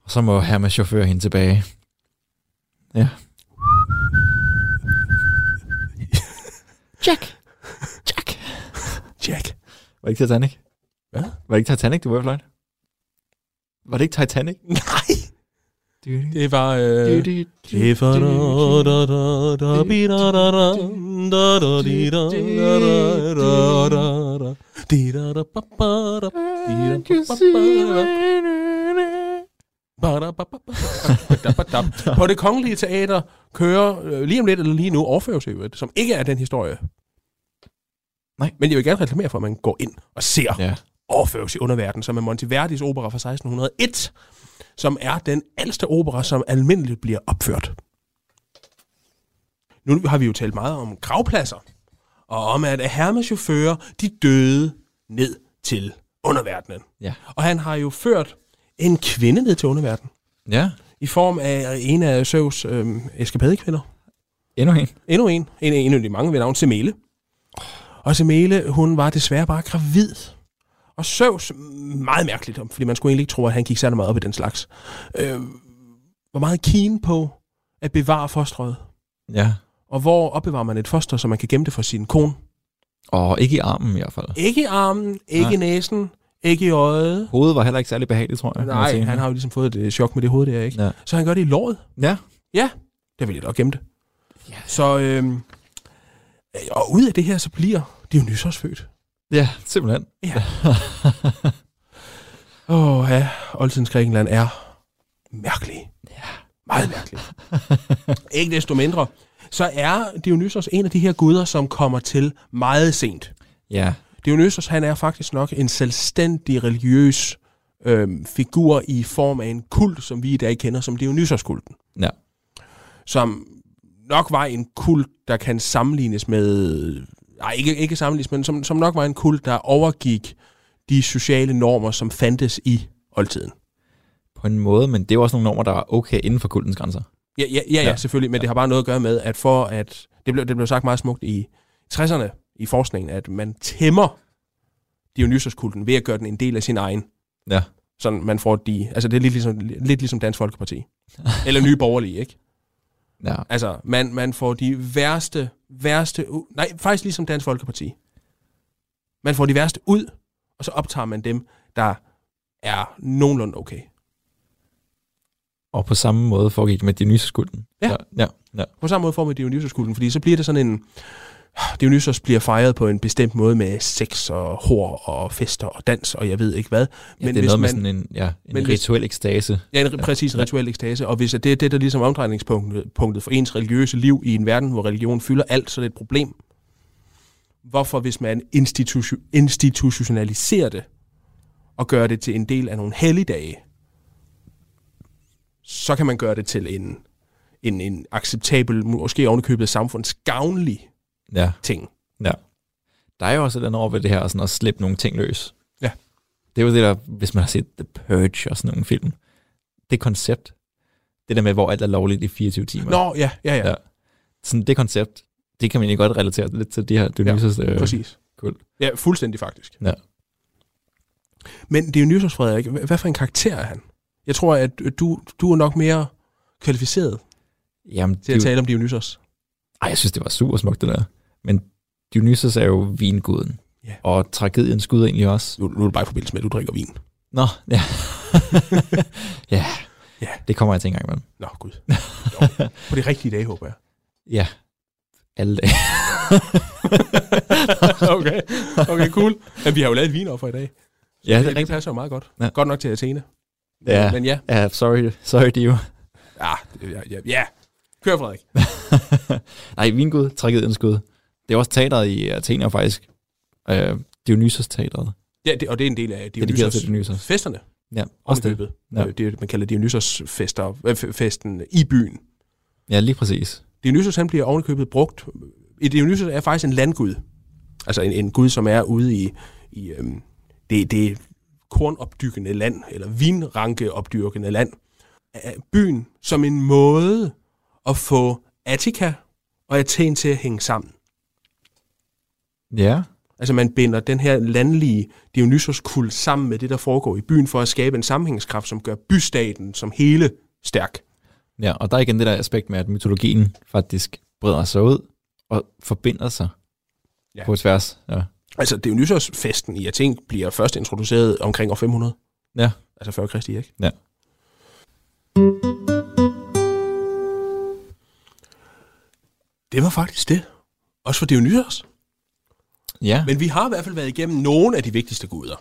Speaker 2: Og så må Hermes chauffør hende tilbage. Ja. Jack! Jack!
Speaker 3: Jack.
Speaker 2: Var det ikke Titanic?
Speaker 3: Hvad?
Speaker 2: Var det ikke Titanic, du var fløjt? Var det ikke Titanic?
Speaker 3: [laughs] Nej. Det var... Øh... [laughs] På det kongelige teater kører øh, lige om lidt eller lige nu Orfeus i øvrigt, som ikke er den historie.
Speaker 2: Nej.
Speaker 3: Men jeg vil gerne reklamere for, at man går ind og ser
Speaker 2: Ja.
Speaker 3: Orfeus i underverden, som er Monteverdi's opera fra 1601, som er den ældste opera, som almindeligt bliver opført. Nu har vi jo talt meget om gravpladser, og om at Hermes chauffører, de døde ned til underverdenen.
Speaker 2: Ja.
Speaker 3: Og han har jo ført en kvinde ned til underverdenen,
Speaker 2: Ja.
Speaker 3: i form af en af Søvs øhm, eskapadekvinder.
Speaker 2: Endnu en.
Speaker 3: Endnu en. En af, en af de mange ved navn Semele. Og Semele, hun var desværre bare gravid. Og Søvs, meget mærkeligt, fordi man skulle egentlig ikke tro, at han gik særlig meget op i den slags, øh, var meget keen på at bevare fostret.
Speaker 2: Ja.
Speaker 3: Og hvor opbevarer man et foster, så man kan gemme det for sin kone?
Speaker 2: Og ikke i armen i hvert fald.
Speaker 3: Ikke i armen, ikke i næsen, ikke i øjet.
Speaker 2: Hovedet var heller ikke særlig behageligt, tror jeg.
Speaker 3: Nej, han har jo ligesom fået et chok med det hoved der, ikke?
Speaker 2: Ja.
Speaker 3: Så han gør det i låret.
Speaker 2: Ja.
Speaker 3: Ja, der vil jeg da gemme det. Ja. Så, øhm, øh, og ud af det her, så bliver Dionysos født.
Speaker 2: Ja, simpelthen.
Speaker 3: Åh oh, ja, oldtidens Grækenland er mærkelig. Ja. Meget mærkelig. Ikke desto mindre, så er Dionysos en af de her guder, som kommer til meget sent.
Speaker 2: Ja.
Speaker 3: Dionysos, han er faktisk nok en selvstændig religiøs øh, figur i form af en kult, som vi i dag kender som Dionysos-kulten.
Speaker 2: Ja.
Speaker 3: Som nok var en kult, der kan sammenlignes med... Nej, ikke, ikke sammenlignes, men som, som nok var en kult, der overgik de sociale normer, som fandtes i oldtiden.
Speaker 2: På en måde, men det er jo også nogle normer, der er okay inden for kultens grænser.
Speaker 3: Ja, ja, ja, ja
Speaker 2: Ja.
Speaker 3: selvfølgelig, men ja. det har bare noget at gøre med, at for at... Det blev, det blev sagt meget smukt i 60'erne i forskningen, at man tæmmer Dionysos-kulten ved at gøre den en del af sin egen.
Speaker 2: Ja.
Speaker 3: Sådan man får de... Altså det er lidt ligesom, lidt ligesom Dansk Folkeparti. [laughs] Eller Nye Borgerlige, ikke?
Speaker 2: Ja.
Speaker 3: Altså, man, man får de værste, værste... u- Nej, faktisk ligesom Dansk Folkeparti. Man får de værste ud, og så optager man dem, der er nogenlunde okay.
Speaker 2: Og på samme måde foregik det med Dionysus-kulten.
Speaker 3: Ja.
Speaker 2: ja. Ja. ja.
Speaker 3: På samme måde får man Dionysos-kulten, fordi så bliver det sådan en... Dionysos bliver fejret på en bestemt måde med sex og hår og fester og dans og jeg ved ikke hvad.
Speaker 2: Ja, men det er noget man, med sådan en, ja, en
Speaker 3: men hvis-
Speaker 2: rituel ekstase.
Speaker 3: Ja, en, præcis en rituel ekstase, og hvis at det er det, der ligesom er omdrejningspunktet punktet for ens religiøse liv i en verden, hvor religion fylder alt, så er det et problem. Hvorfor, hvis man institution, institutionaliserer det, og gør det til en del af nogle helligdage, så kan man gøre det til en, en, en acceptabel, måske ovenikøbet samfundsgavnlig
Speaker 2: Ja.
Speaker 3: ting.
Speaker 2: ja. Der er jo også et eller andet over ved det her, og sådan at slippe nogle ting løs.
Speaker 3: Ja.
Speaker 2: Det er jo det der, hvis man har set The Purge og sådan nogle film. Det koncept. Det der med, hvor alt er lovligt i 24 timer.
Speaker 3: Nå, ja, ja, ja, ja
Speaker 2: Ja. Sådan det koncept, det kan man egentlig godt relatere lidt til de her øh, Dionysus. Ja,
Speaker 3: præcis.
Speaker 2: Cool.
Speaker 3: Ja, fuldstændig faktisk.
Speaker 2: Ja.
Speaker 3: Men Dionysos Frederik, hva- hvad for en karakter er han? Jeg tror, at du, du er nok mere kvalificeret
Speaker 2: Jamen,
Speaker 3: til at
Speaker 2: Dion-
Speaker 3: tale om Dionysos.
Speaker 2: Ej, jeg synes, det var super smukt, det der. Men Dionysus er jo vinguden.
Speaker 3: Ja.
Speaker 2: Og tragediens gud egentlig også.
Speaker 3: Nu, nu er det bare i forbindelse med, at du drikker vin.
Speaker 2: Nå, ja. [laughs] ja.
Speaker 3: Ja.
Speaker 2: Det kommer jeg til en gang imellem.
Speaker 3: Nå, gud. Jo. På de rigtige dage, [laughs] håber jeg.
Speaker 2: Ja. Alle dage.
Speaker 3: okay, okay, cool. Men vi har jo lavet et vin op for i dag.
Speaker 2: [laughs] Ja, det
Speaker 3: det,
Speaker 2: er
Speaker 3: det
Speaker 2: rigtigt.
Speaker 3: passer jo meget godt. Ja.
Speaker 2: Ja.
Speaker 3: Godt nok til Athene.
Speaker 2: Ja.
Speaker 3: Men ja,
Speaker 2: Ja, sorry, sorry Dio.
Speaker 3: ja, ja, ja, ja. Kør, Frederik.
Speaker 2: Nej, vingud, tragediens gud. Det er også teateret i Athen, er faktisk. Øh, Dionysos teateret.
Speaker 3: Ja, det, og det er en del af
Speaker 2: Dedikeret
Speaker 3: Dionysos.
Speaker 2: til Dionysos.
Speaker 3: Festerne.
Speaker 2: Ja, også det.
Speaker 3: Ovenikøbet.
Speaker 2: Ja.
Speaker 3: Ja. Det, man kalder Dionysos-festen øh, f- festen i byen.
Speaker 2: Ja, lige præcis.
Speaker 3: Dionysos han bliver ovenikøbet brugt. I Dionysos er faktisk en landgud. Altså en, en gud, som er ude i, i øhm, det, det kornopdyrkende land, eller vinrankeopdyrkende land. Af Byen som en måde at få Attika og Athen til at hænge sammen.
Speaker 2: Ja.
Speaker 3: Altså man binder den her landlige Dionysos-kult sammen med det, der foregår i byen, for at skabe en sammenhængskraft, som gør bystaten som hele stærk.
Speaker 2: Ja, og der er igen det der aspekt med, at mytologien faktisk breder sig ud og forbinder sig
Speaker 3: Ja.
Speaker 2: ja. på tværs. Ja.
Speaker 3: Altså Dionysos-festen i Athen bliver først introduceret omkring år 500.
Speaker 2: ja.
Speaker 3: Altså før Kristi, ikke?
Speaker 2: Ja.
Speaker 3: Det var faktisk det. Også for Dionysos.
Speaker 2: Ja,
Speaker 3: Men vi har i hvert fald været igennem nogle af de vigtigste guder.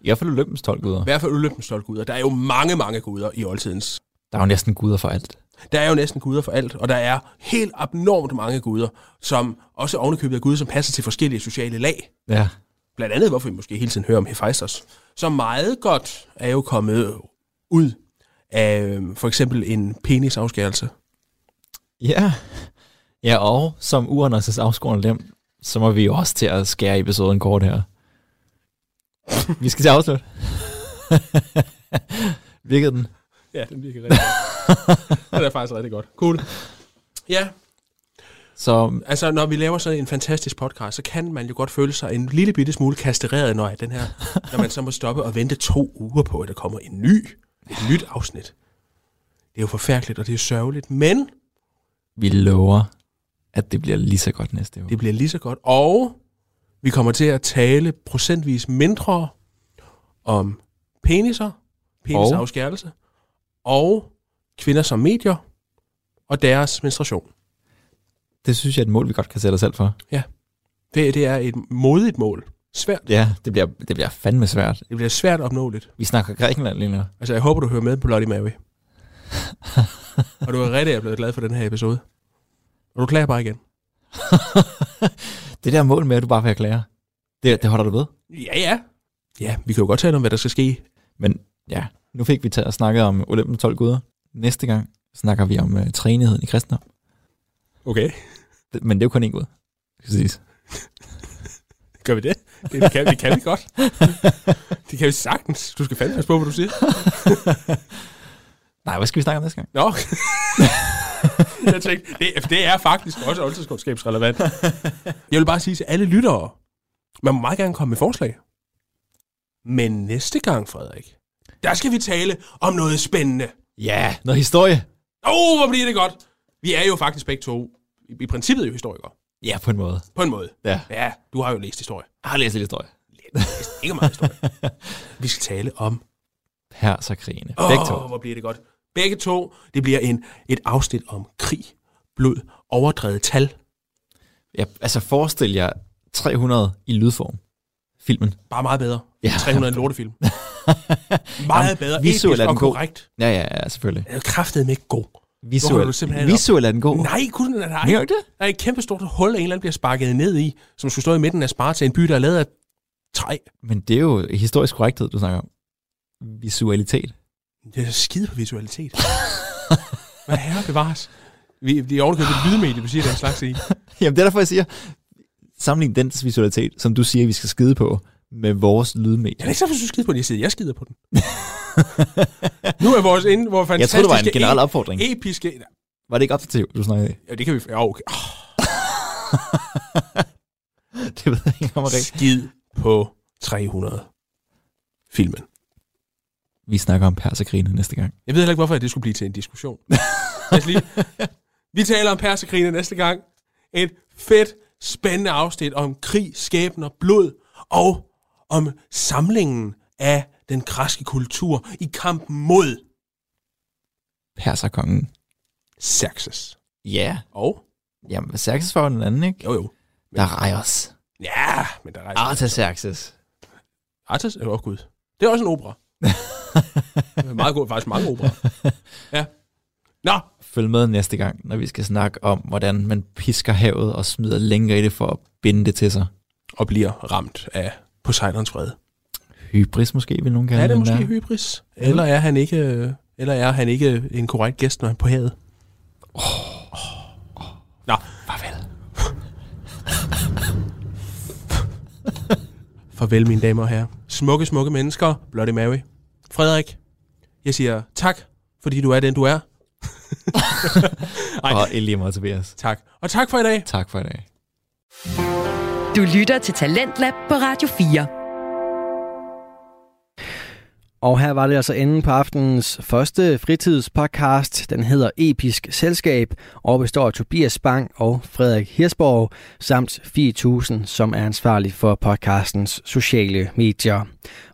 Speaker 2: i hvert fald Olympens 12 guder.
Speaker 3: I hvert fald Olympens 12 guder. Der er jo mange, mange guder i oldtidens.
Speaker 2: Der er jo næsten guder for alt.
Speaker 3: Der er jo næsten guder for alt, og der er helt abnormt mange guder, som også ovenikøbet er guder, som passer til forskellige sociale lag.
Speaker 2: Ja.
Speaker 3: Blandt andet, hvorfor vi måske hele tiden hører om Hephaistos. Så meget godt er jo kommet ud af øhm, for eksempel en penisafskærelse.
Speaker 2: Ja. Ja, og som Uranus' afskårende lem, så må vi jo også til at skære episoden kort her. vi skal til at afslutte. [laughs] Virkede den?
Speaker 3: [laughs] Ja, den virker rigtig godt. den er faktisk rigtig godt. Cool. Ja,
Speaker 2: Så
Speaker 3: altså når vi laver sådan en fantastisk podcast, så kan man jo godt føle sig en lille bitte smule kastreret, når, den her, når man så må stoppe og vente to uger på, at der kommer en ny, et nyt afsnit. Det er jo forfærdeligt, og det er sørgeligt, men
Speaker 2: vi lover, at det bliver lige så godt næste år.
Speaker 3: det bliver lige så godt. Og vi kommer til at tale procentvis mindre om peniser, penisafskærelse og kvinder som medier og deres menstruation.
Speaker 2: Det synes jeg er et mål, vi godt kan sætte os selv for.
Speaker 3: Det, det er et modigt mål. Svært.
Speaker 2: Ja, det bliver, det bliver fandme svært.
Speaker 3: Det bliver svært opnåeligt.
Speaker 2: Vi snakker Grækenland lige nu.
Speaker 3: Altså, jeg håber, du hører med på Bloody [laughs] Mary. og du er rigtig jeg er blevet glad for den her episode. Og du klager bare igen.
Speaker 2: det der mål med, at du bare vil erklære, Det, det holder du ved.
Speaker 3: Ja, ja. Ja, vi kan jo godt tale om, hvad der skal ske.
Speaker 2: Men ja, nu fik vi taget og snakket om Olympens 12 guder. Næste gang snakker vi om uh, træenigheden i kristendom.
Speaker 3: Okay. [laughs]
Speaker 2: Det- Men det er jo kun én gud. Præcis.
Speaker 3: Gør vi det? Det kan, det kan vi [laughs] godt. Det kan vi sagtens. Du skal fandme passe på, hvad du siger.
Speaker 2: Nej, hvad skal vi snakke om næste gang?
Speaker 3: [laughs] Nå. jeg tænkte, det, det er faktisk også oldtidskundskabsrelevant. [laughs] Jeg vil bare sige til alle lyttere, man må meget gerne komme med forslag. Men næste gang, Frederik, der skal vi tale om noget spændende.
Speaker 2: Ja, noget historie.
Speaker 3: Åh, oh, hvor bliver det godt. Vi er jo faktisk begge to, i, i princippet jo historikere,
Speaker 2: Ja, på en måde.
Speaker 3: på en måde.
Speaker 2: Ja.
Speaker 3: Ja, du har jo læst historie.
Speaker 2: Jeg har læst lidt historie.
Speaker 3: Ikke meget
Speaker 2: [laughs]
Speaker 3: historie. vi skal tale om
Speaker 2: Pers og krigene.
Speaker 3: Åh,
Speaker 2: Begge to.
Speaker 3: hvor bliver det godt. Begge to, det bliver en, et afsnit om krig, blod, overdrevet tal.
Speaker 2: Ja, altså forestil jer 300 i lydform. Filmen.
Speaker 3: Bare meget bedre.
Speaker 2: Ja.
Speaker 3: 300 en
Speaker 2: [laughs]
Speaker 3: lortefilm. meget bedre.
Speaker 2: visuelt
Speaker 3: episk
Speaker 2: er den
Speaker 3: og
Speaker 2: god.
Speaker 3: korrekt.
Speaker 2: Ja, ja, ja, selvfølgelig.
Speaker 3: Den er kraftet med god. Nu holder du simpelthen
Speaker 2: Visuel,
Speaker 3: op.
Speaker 2: visuel er den god.
Speaker 3: Nej, kun den er
Speaker 2: Mener
Speaker 3: der.
Speaker 2: du
Speaker 3: ikke.
Speaker 2: ikke det?
Speaker 3: Der er et kæmpe stort hul, en eller anden bliver sparket ned i, som skulle stå i midten af Sparta, en by, der er lavet af træ.
Speaker 2: Men det er jo historisk korrekthed, du snakker om. Visualitet.
Speaker 3: Det er skide på [laughs] visualitet. Hvad herre bevares. Vi, vi er ovenikøbet et lydmedie, vi siger den slags i.
Speaker 2: [laughs] Jamen, det er derfor, jeg siger, sammenlign den visualitet, som du siger, vi skal skide på, med vores
Speaker 3: Jeg
Speaker 2: lydmedie.
Speaker 3: er ikke så, hvis du skider på den, jeg siger, jeg skider på den. [laughs] nu er vores inde, hvor
Speaker 2: Jeg
Speaker 3: fantastiske...
Speaker 2: tror, det var en generel opfordring.
Speaker 3: e- episke...
Speaker 2: Var det ikke opdativt, du snakkede i?
Speaker 3: Ja, det kan vi... Ja, okay. Oh,
Speaker 2: [laughs] Det ved jeg ikke om er rigtigt.
Speaker 3: skid på 300 filmen.
Speaker 2: Vi snakker om perserkrigene næste gang.
Speaker 3: Jeg ved heller ikke, hvorfor det skulle blive til en diskussion. Lad os lige... Vi taler om persekrigene næste gang. Et fedt, spændende afsnit om krig, skæbner, blod og om samlingen af den græske kultur i kampen mod
Speaker 2: Perserkongen.
Speaker 3: Xerxes.
Speaker 2: Ja.
Speaker 3: Og?
Speaker 2: Jamen, Xerxes var jo den anden, ikke?
Speaker 3: Jo, jo.
Speaker 2: Der er Rejos.
Speaker 3: Ja, men der er
Speaker 2: Artaxerxes.
Speaker 3: Artas? Åh, oh, gud. Det er også en [laughs] opera. Det er meget god, faktisk mange opera. Ja. Nå,
Speaker 2: Følg med næste gang, når vi skal snakke om, hvordan man pisker havet og smider længere i det for at binde det til sig.
Speaker 3: og bliver ramt af Poseidons vrede.
Speaker 2: Hybris måske, vil nogen kalde
Speaker 3: Er det
Speaker 2: den
Speaker 3: måske
Speaker 2: der.
Speaker 3: hybris? Eller er han ikke, øh, eller er han ikke en korrekt gæst, når han er på havet? Nå,
Speaker 2: Farvel.
Speaker 3: farvel mine damer og herrer. Smukke, smukke mennesker. Bloody Mary. Frederik, jeg siger tak, fordi du er den, du er. Ej,
Speaker 2: Og Elie Motiveres.
Speaker 3: tak. Og tak for i dag.
Speaker 2: Tak for i dag.
Speaker 4: Du lytter til Talentlab på Radio 4.
Speaker 1: Og her var det altså enden på aftenens første fritidspodcast. Den hedder Episk Selskab og består af Tobias Bang og Frederik Hirsborg samt 4000, som er ansvarlig for podcastens sociale medier.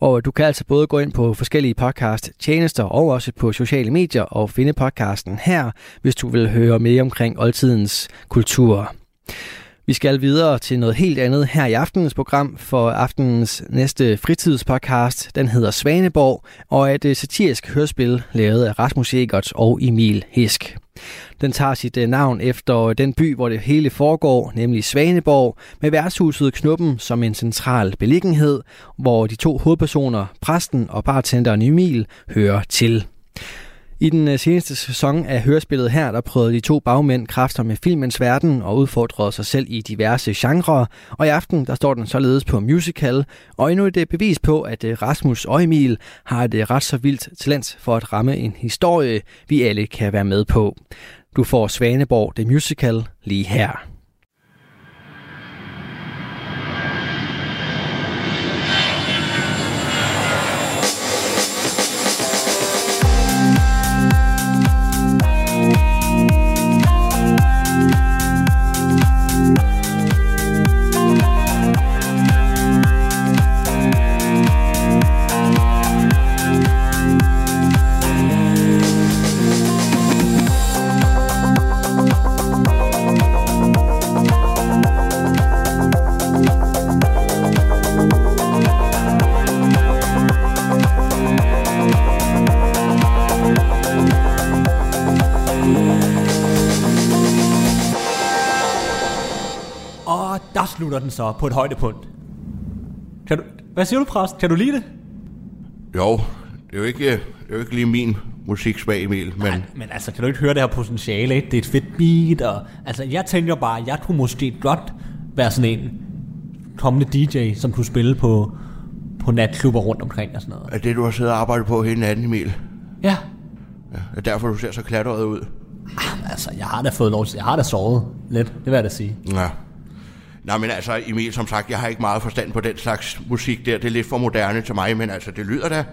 Speaker 1: Og du kan altså både gå ind på forskellige podcast tjenester og også på sociale medier og finde podcasten her, hvis du vil høre mere omkring oldtidens kultur. Vi skal videre til noget helt andet her i aftenens program, for aftenens næste fritidspodcast, den hedder Svaneborg, og er et øh, satirisk hørspil lavet af Rasmus Egerts og Emil Hisk. Den tager sit øh, navn efter den by, hvor det hele foregår, nemlig Svaneborg, med værtshuset Knuppen som en central beliggenhed, hvor de to hovedpersoner, præsten og bartenderen Emil, hører til. I den øh, seneste sæson af Hørespillet her, der prøvede de to bagmænd kræfter med filmens verden og udfordrede sig selv i diverse genrer. Og i aften, der står den således på musical, og endnu et øh, bevis på, at øh, Rasmus og Emil har et øh, ret så vildt talent for at ramme en historie, vi alle kan være med på. Du får Svaneborg The Musical lige her.
Speaker 5: Og der slutter den så på et højdepunkt. Kan du, hvad siger du, præst? Kan du lide det?
Speaker 6: Jo, det er jo ikke, øh, det er jo ikke lige min musiksmag, Emil, men
Speaker 5: Men altså, kan du ikke høre det her potentiale, ikke? Det er et fedt beat, og... Altså, jeg tænker bare, jeg kunne måske godt være sådan en kommende DJ, som kunne spille på, på natklubber rundt omkring og sådan noget.
Speaker 6: er det, du har siddet og arbejdet på hele natten, Emil?
Speaker 5: Ja.
Speaker 6: Er derfor, du ser så klatret ud?
Speaker 5: Altså, jeg har da fået lov til... Jeg har da sovet lidt, det vil jeg da sige.
Speaker 6: Ja. Nej, men altså, Emil, som sagt, jeg har ikke meget forstand på den slags musik der. Det er lidt for moderne til mig, men altså, det lyder da...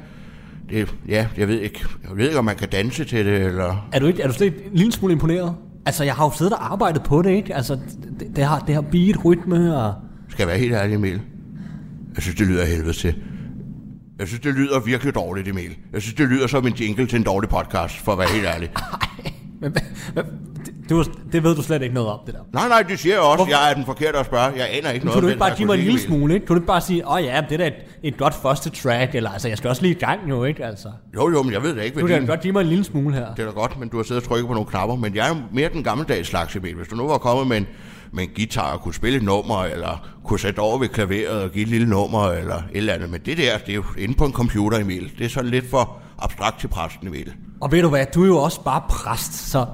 Speaker 6: Det, ja, jeg ved ikke, jeg ved ikke, om man kan danse til det, eller...
Speaker 5: Er du, ikke, er du slet ikke en lille smule imponeret? Altså, jeg har jo siddet og arbejdet på det, ikke? Altså, det, det, har, det har beat, rytme og...
Speaker 6: Skal jeg være helt ærlig, Emil? Jeg synes, det lyder af helvede til. Jeg synes, det lyder virkelig dårligt, Emil. Jeg synes, det lyder som en jingle til en dårlig podcast, for at være helt ærlig.
Speaker 5: Men, men, det, du, det ved du slet ikke noget om, det der.
Speaker 6: Nej, nej, det siger jeg også. Jeg er den forkerte at spørge. Jeg aner ikke noget
Speaker 5: Kan du
Speaker 6: om
Speaker 5: ikke
Speaker 6: den
Speaker 5: bare
Speaker 6: slags
Speaker 5: give mig en
Speaker 6: musik,
Speaker 5: lille
Speaker 6: Emil.
Speaker 5: smule, ikke? Kan du ikke bare sige, åh oh, ja, det er da et, et godt første track, eller altså, jeg skal også lige i gang jo, ikke? Altså,
Speaker 6: Jo, jo, men jeg ved da ikke,
Speaker 5: du
Speaker 6: hvad
Speaker 5: kan
Speaker 6: din...
Speaker 5: da godt give mig en lille smule her.
Speaker 6: Det er da godt, men du har siddet og trykket på nogle knapper. Men jeg er jo mere den gammeldags slags, Emil. Hvis du nu var kommet med en, med en guitar og kunne spille et nummer, eller kunne sætte over ved klaveret og give et lille nummer, eller et eller andet. Men det der, det er jo inde på en computer, Emil. Det er sådan lidt for abstrakt til præsten, Emil.
Speaker 5: Og ved du hvad, du er jo også bare præst, så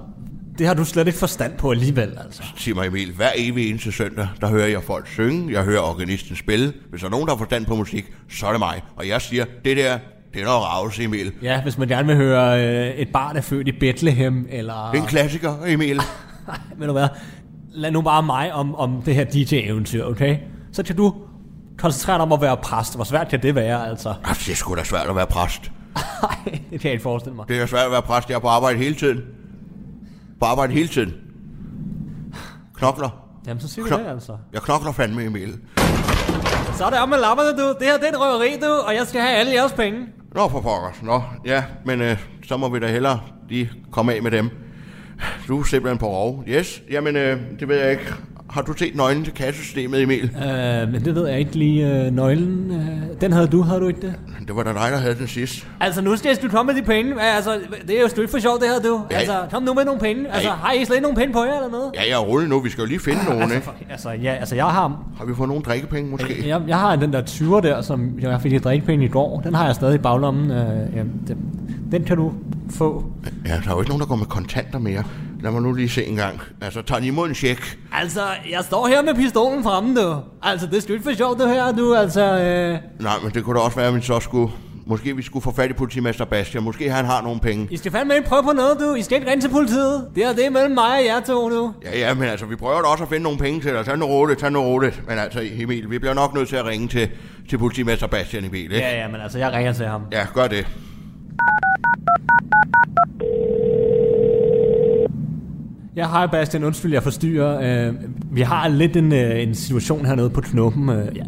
Speaker 5: det har du slet ikke forstand på alligevel, altså.
Speaker 6: Sig mig, Emil, hver evig eneste søndag, der hører jeg folk synge, jeg hører organisten spille. Hvis der er nogen, der har forstand på musik, så er det mig. Og jeg siger, det der, det er noget ravs, Emil.
Speaker 5: Ja, hvis man gerne vil høre øh, et barn er født i Bethlehem, eller...
Speaker 6: Det er en klassiker, Emil.
Speaker 5: Ved du hvad, lad nu bare mig om, om det her DJ-eventyr, okay? Så kan du koncentrere dig om at være præst. Hvor svært kan det være, altså?
Speaker 6: Altså, det er sgu da svært at være præst.
Speaker 5: Nej, [laughs] det kan jeg ikke forestille mig.
Speaker 6: Det er svært at være præst. Jeg er på arbejde hele tiden. På arbejde hele tiden. Knokler.
Speaker 5: Jamen, så siger du
Speaker 6: Kno-
Speaker 5: det, altså.
Speaker 6: Jeg knokler fandme, Emil.
Speaker 5: Så er det om med lapperne, du. Det her, det er et røveri, du, og jeg skal have alle jeres penge.
Speaker 6: Nå, for pokker. Nå, ja, men øh, så må vi da hellere lige komme af med dem. Du er simpelthen på rov. Yes, jamen, øh, det ved jeg ikke. Har du set nøglen til kassesystemet, Emil?
Speaker 5: Øh, men det ved jeg ikke lige. Øh, nøglen, øh, den havde du, havde du ikke det?
Speaker 6: Det var da dig, der havde den sidst.
Speaker 5: Altså, nu skal du komme med de penge. Ja, Altså, det er jo slet ikke for sjovt, det her, du.
Speaker 6: Ja.
Speaker 5: Altså, kom nu med nogle penge. Altså, har I slet ikke nogen penge på jer eller noget?
Speaker 6: Ja, jeg er rullet nu. Vi skal jo lige finde nogen,
Speaker 5: Altså,
Speaker 6: ikke?
Speaker 5: for, altså, ja, altså, jeg har,
Speaker 6: Har vi fået nogle drikkepenge, måske?
Speaker 5: jeg, jeg har den der 20'er der, som jeg fik i drikkepenge i går. Den har jeg stadig i baglommen. Øh, ja, den, den kan du få.
Speaker 6: Ja, der er jo ikke nogen, der går med kontanter mere. Lad mig nu lige se en gang. Altså, tager I imod en check?
Speaker 5: Altså, jeg står her med pistolen fremme, du. Altså, det er slet ikke for sjovt, det her, du. Altså, øh,
Speaker 6: Nej, men det kunne da også være, at vi så skulle... Måske vi skulle få fat i politimester Bastian. Måske han har nogle penge.
Speaker 5: I skal fandme ikke prøve på noget, du. I skal ikke ringe til politiet. Det er det er mellem mig og jer to, nu.
Speaker 6: Ja, ja, men altså, vi prøver da også at finde nogle penge til dig. Tag nu roligt, tag nu roligt. Men altså, Emil, vi bliver nok nødt til at ringe til, til politimester Bastian Emil, ikke?
Speaker 5: Ja, ja, men altså, jeg ringer til ham.
Speaker 6: ja, gør det.
Speaker 5: Ja, hej Bastian, undskyld, jeg forstyrrer. Øh, vi har lidt en, øh, en situation hernede på knuppen. Øh, ja.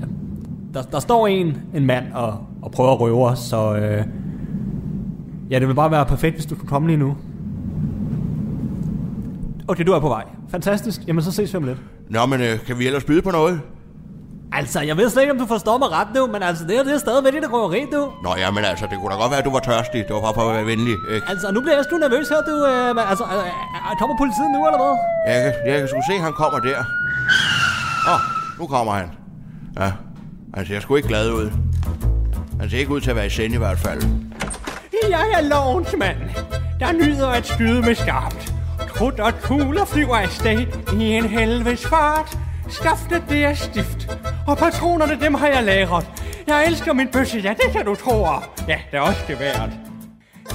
Speaker 5: der, der står en, en mand og, og prøver at røve os, så... Øh, ja, det ville bare være perfekt, hvis du kunne komme lige nu. Okay, du er på vej. Fantastisk. Jamen, så ses vi om lidt.
Speaker 6: Nå, men øh, kan vi ellers byde på noget?
Speaker 5: Altså, jeg ved slet ikke, om du forstår mig ret nu, men altså, det her det er stadigvæk et røveri, du.
Speaker 6: Nå, ja, men altså, det kunne da godt være, at du var tørstig. Det var bare for at være venlig, Øh, ikke?
Speaker 5: Altså, nu bliver jeg sgu nervøs her, du. Øh, men altså, øh, øh, kommer politiet nu, eller hvad?
Speaker 6: Jeg kan, jeg kan sgu se, at han kommer der. Åh, nu kommer han. Ja, han ser sgu ikke glad ud. Han ser ikke ud til at være i send i hvert fald.
Speaker 5: Jeg er lovens mand, der nyder at skyde med skarpt. Krudt og kugler flyver afsted i en helvedes fart. Skaftet det er stift, og patronerne dem har jeg lagret. Jeg elsker min bøsse, ja det kan du tro. Ja, det er også geværet.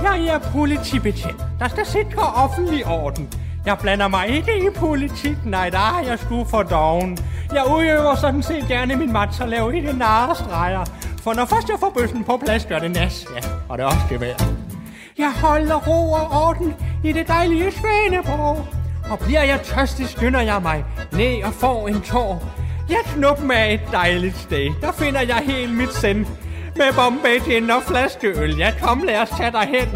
Speaker 5: Jeg er politibetjent, der skal sikre offentlig orden. Jeg blander mig ikke i politik, nej, der er jeg sgu for doven. Jeg udøver sådan set gerne min mat, så lav ikke narrestreger. For når først jeg får bøssen på plads, gør det nas, ja, og det er også gevær. Jeg holder ro og orden i det dejlige Svaneborg. Og bliver jeg tørstig, skynder jeg mig ned og får en tår. Jeg knup med et dejligt sted, der finder jeg helt mit sind. Med Bombay gin og flaskeøl, ja kom lad os tage derhen.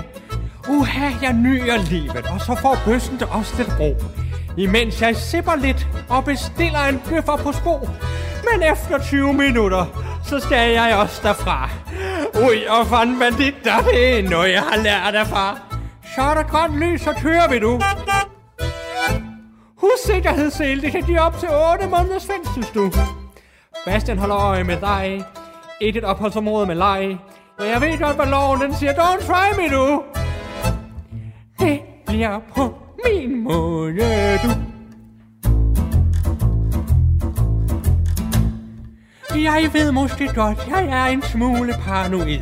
Speaker 5: Uha, jeg nyer livet, og så får bøssen det også lidt ro. Imens jeg sipper lidt og bestiller en bøffer på sko. Men efter 20 minutter, så skal jeg også derfra. Ui, og fanden banditter, det er noget, jeg har lært af far. Så er der grønt lys, så kører vi nu. Hussikkerhedssel, det kan give op til 8 måneders fængsel, du. Bastian holder øje med dig. Ikke et opholdsområde med leg. Men jeg ved godt, hvad loven den siger. Don't try me, du. Det bliver på min måde, du. Jeg ved måske godt, jeg er en smule paranoid.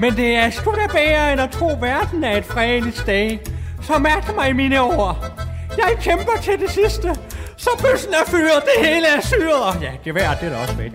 Speaker 5: Men det er sgu da bedre end at tro, verden er et fredeligt sted. Så mærk mig mine ord. Jeg kæmper til det sidste. Så bøssen er fyret, det hele er syret. Og ja, geværet, det er da også væk.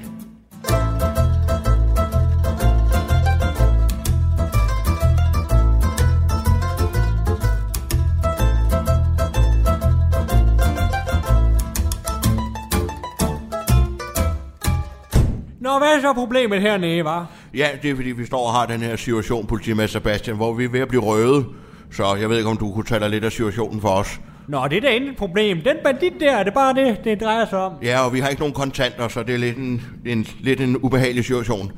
Speaker 5: Nå, hvad er så problemet hernede, var?
Speaker 6: Ja, det er fordi, vi står og har den her situation, politimester Sebastian, hvor vi er ved at blive røde. Så jeg ved ikke, om du kunne tage dig lidt af situationen for os.
Speaker 5: Nå, det er da intet problem. Den bandit der, er det bare det, det drejer sig om.
Speaker 6: Ja, og vi har ikke nogen kontanter, så det er lidt en, en, lidt en ubehagelig situation.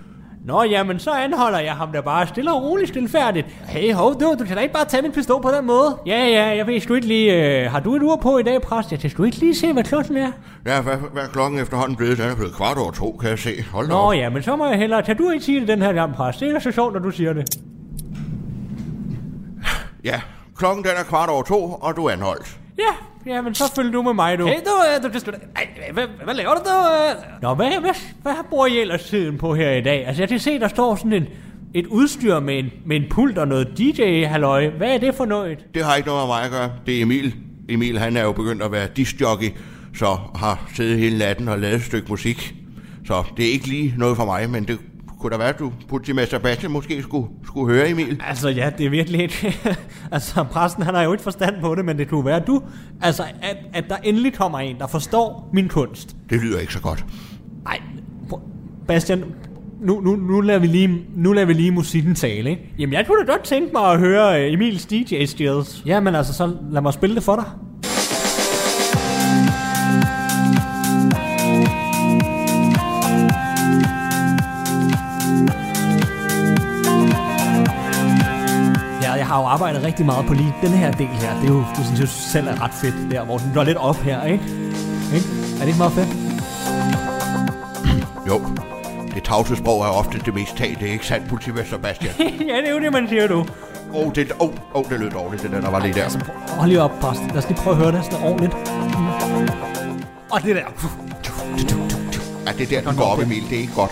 Speaker 5: Nå, jamen, så anholder jeg ham der bare stille og roligt, stilfærdigt. Hey, hov, du, du kan da ikke bare tage min pistol på den måde. Ja, ja, jeg ved sgu ikke lige, øh, har du et ur på i dag, præst? Jeg kan sgu ikke lige se, hvad klokken er.
Speaker 6: Ja, hvad, hvad er klokken efterhånden blevet? Den er blevet kvart over to, kan jeg se. Hold da
Speaker 5: Nå,
Speaker 6: op.
Speaker 5: ja, men så må jeg hellere, kan du ikke sige det den her gang, præst? Det er da så sjovt, når du siger det.
Speaker 6: Ja, klokken den er kvart over to, og du er anholdt.
Speaker 5: Ja, ja, men så følger du med mig, du.
Speaker 7: Hey, du, øh, du kan sgu da... Ej, hvad, hvad laver du, du? øh?
Speaker 5: Nå, hvad, hvad, hvad bruger I ellers tiden på her i dag? Altså, jeg kan se, der står sådan en, et udstyr med en, med en pult og noget DJ-halløj. Hvad er det for noget?
Speaker 6: Det har ikke noget med mig at gøre. Det er Emil. Emil, han er jo begyndt at være disjockey, så har siddet hele natten og lavet et stykke musik. Så det er ikke lige noget for mig, men det kunne da være, at du politimester Sebastian måske skulle, skulle høre, Emil.
Speaker 5: Altså, ja, det er virkelig ikke... [laughs] altså, præsten, han har jo ikke forstand på det, men det kunne være du. Altså, at, at der endelig kommer en, der forstår min kunst.
Speaker 6: Det lyder ikke så godt.
Speaker 5: Nej, Bastian, nu, nu, nu, lader vi lige, nu lader vi lige musikken tale, ikke? Jamen, jeg kunne da godt tænke mig at høre øh, Emils DJ skills. Jamen, altså, så lad mig spille det for dig. Ja, jeg har jo arbejdet rigtig meget på lige den her del her. Det er jo, du synes jo selv er ret fedt der, hvor den går lidt op her, ikke? ikke? Er det ikke meget fedt?
Speaker 6: Jo, det tavsesprog er ofte det mest talte, ikke sandt, politimester Sebastian?
Speaker 5: [laughs] ja, det er jo det, man siger, du.
Speaker 6: Åh, oh, det, oh, oh, det lød dårligt, det der, der var lige der.
Speaker 5: Altså, prøv- hold lige op, præst. Lad os lige prøve at høre det sådan ordentligt. Og det der.
Speaker 6: Ja, det er der, den går op, Emil. Det er ikke godt.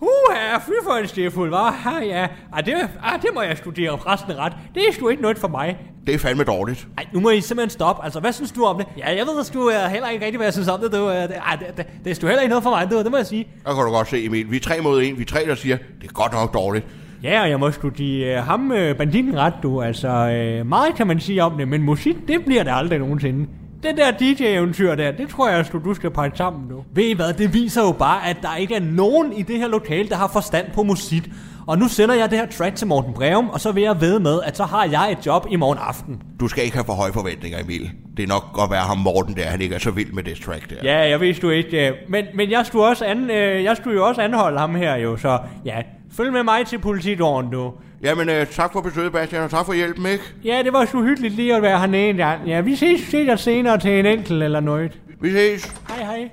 Speaker 5: Uha, fy for en stefuld, hva'? Ha, ja. Ah, det, ah, det må jeg studere præsten er ret. Det er sgu ikke noget for mig.
Speaker 6: Det er fandme dårligt.
Speaker 5: Ej, nu må I simpelthen stoppe. Altså, hvad synes du om det? Ja, jeg ved sgu uh, heller ikke rigtig, hvad jeg synes om det. Du, uh, det, ah, det, det, det er sgu heller ikke noget for mig, du, det må jeg sige.
Speaker 6: Der kan du godt se, Emil. Vi er tre mod en. Vi er tre, der siger, det er godt nok dårligt.
Speaker 5: Ja, og jeg må sgu give uh, ham uh, banditten ret, du. Altså, uh, meget kan man sige om det, men musik, det bliver det aldrig nogensinde. Den der DJ-eventyr der, det tror jeg sgu, du skal pakke sammen nu. Ved I hvad, det viser jo bare, at der ikke er nogen i det her lokale, der har forstand på musik. Og nu sender jeg det her track til Morten Breum, og så vil jeg ved med, at så har jeg et job i morgen aften.
Speaker 6: Du skal ikke have for høje forventninger, Emil. Det er nok godt være ham Morten der, han ikke er så vild med det track der.
Speaker 5: Ja, jeg vidste du ikke. øh, Men, men jeg, skulle også an, øh, jeg skulle jo også anholde ham her jo, så ja, følg med mig til politidåren du.
Speaker 6: Jamen, øh, tak for besøget, Bastian, og tak for hjælpen, ikke?
Speaker 5: Ja, det var så hyggeligt lige at være hernede en gang. Ja, vi ses, ses jeg senere til en enkelt eller noget.
Speaker 6: Vi ses.
Speaker 5: Hej hej.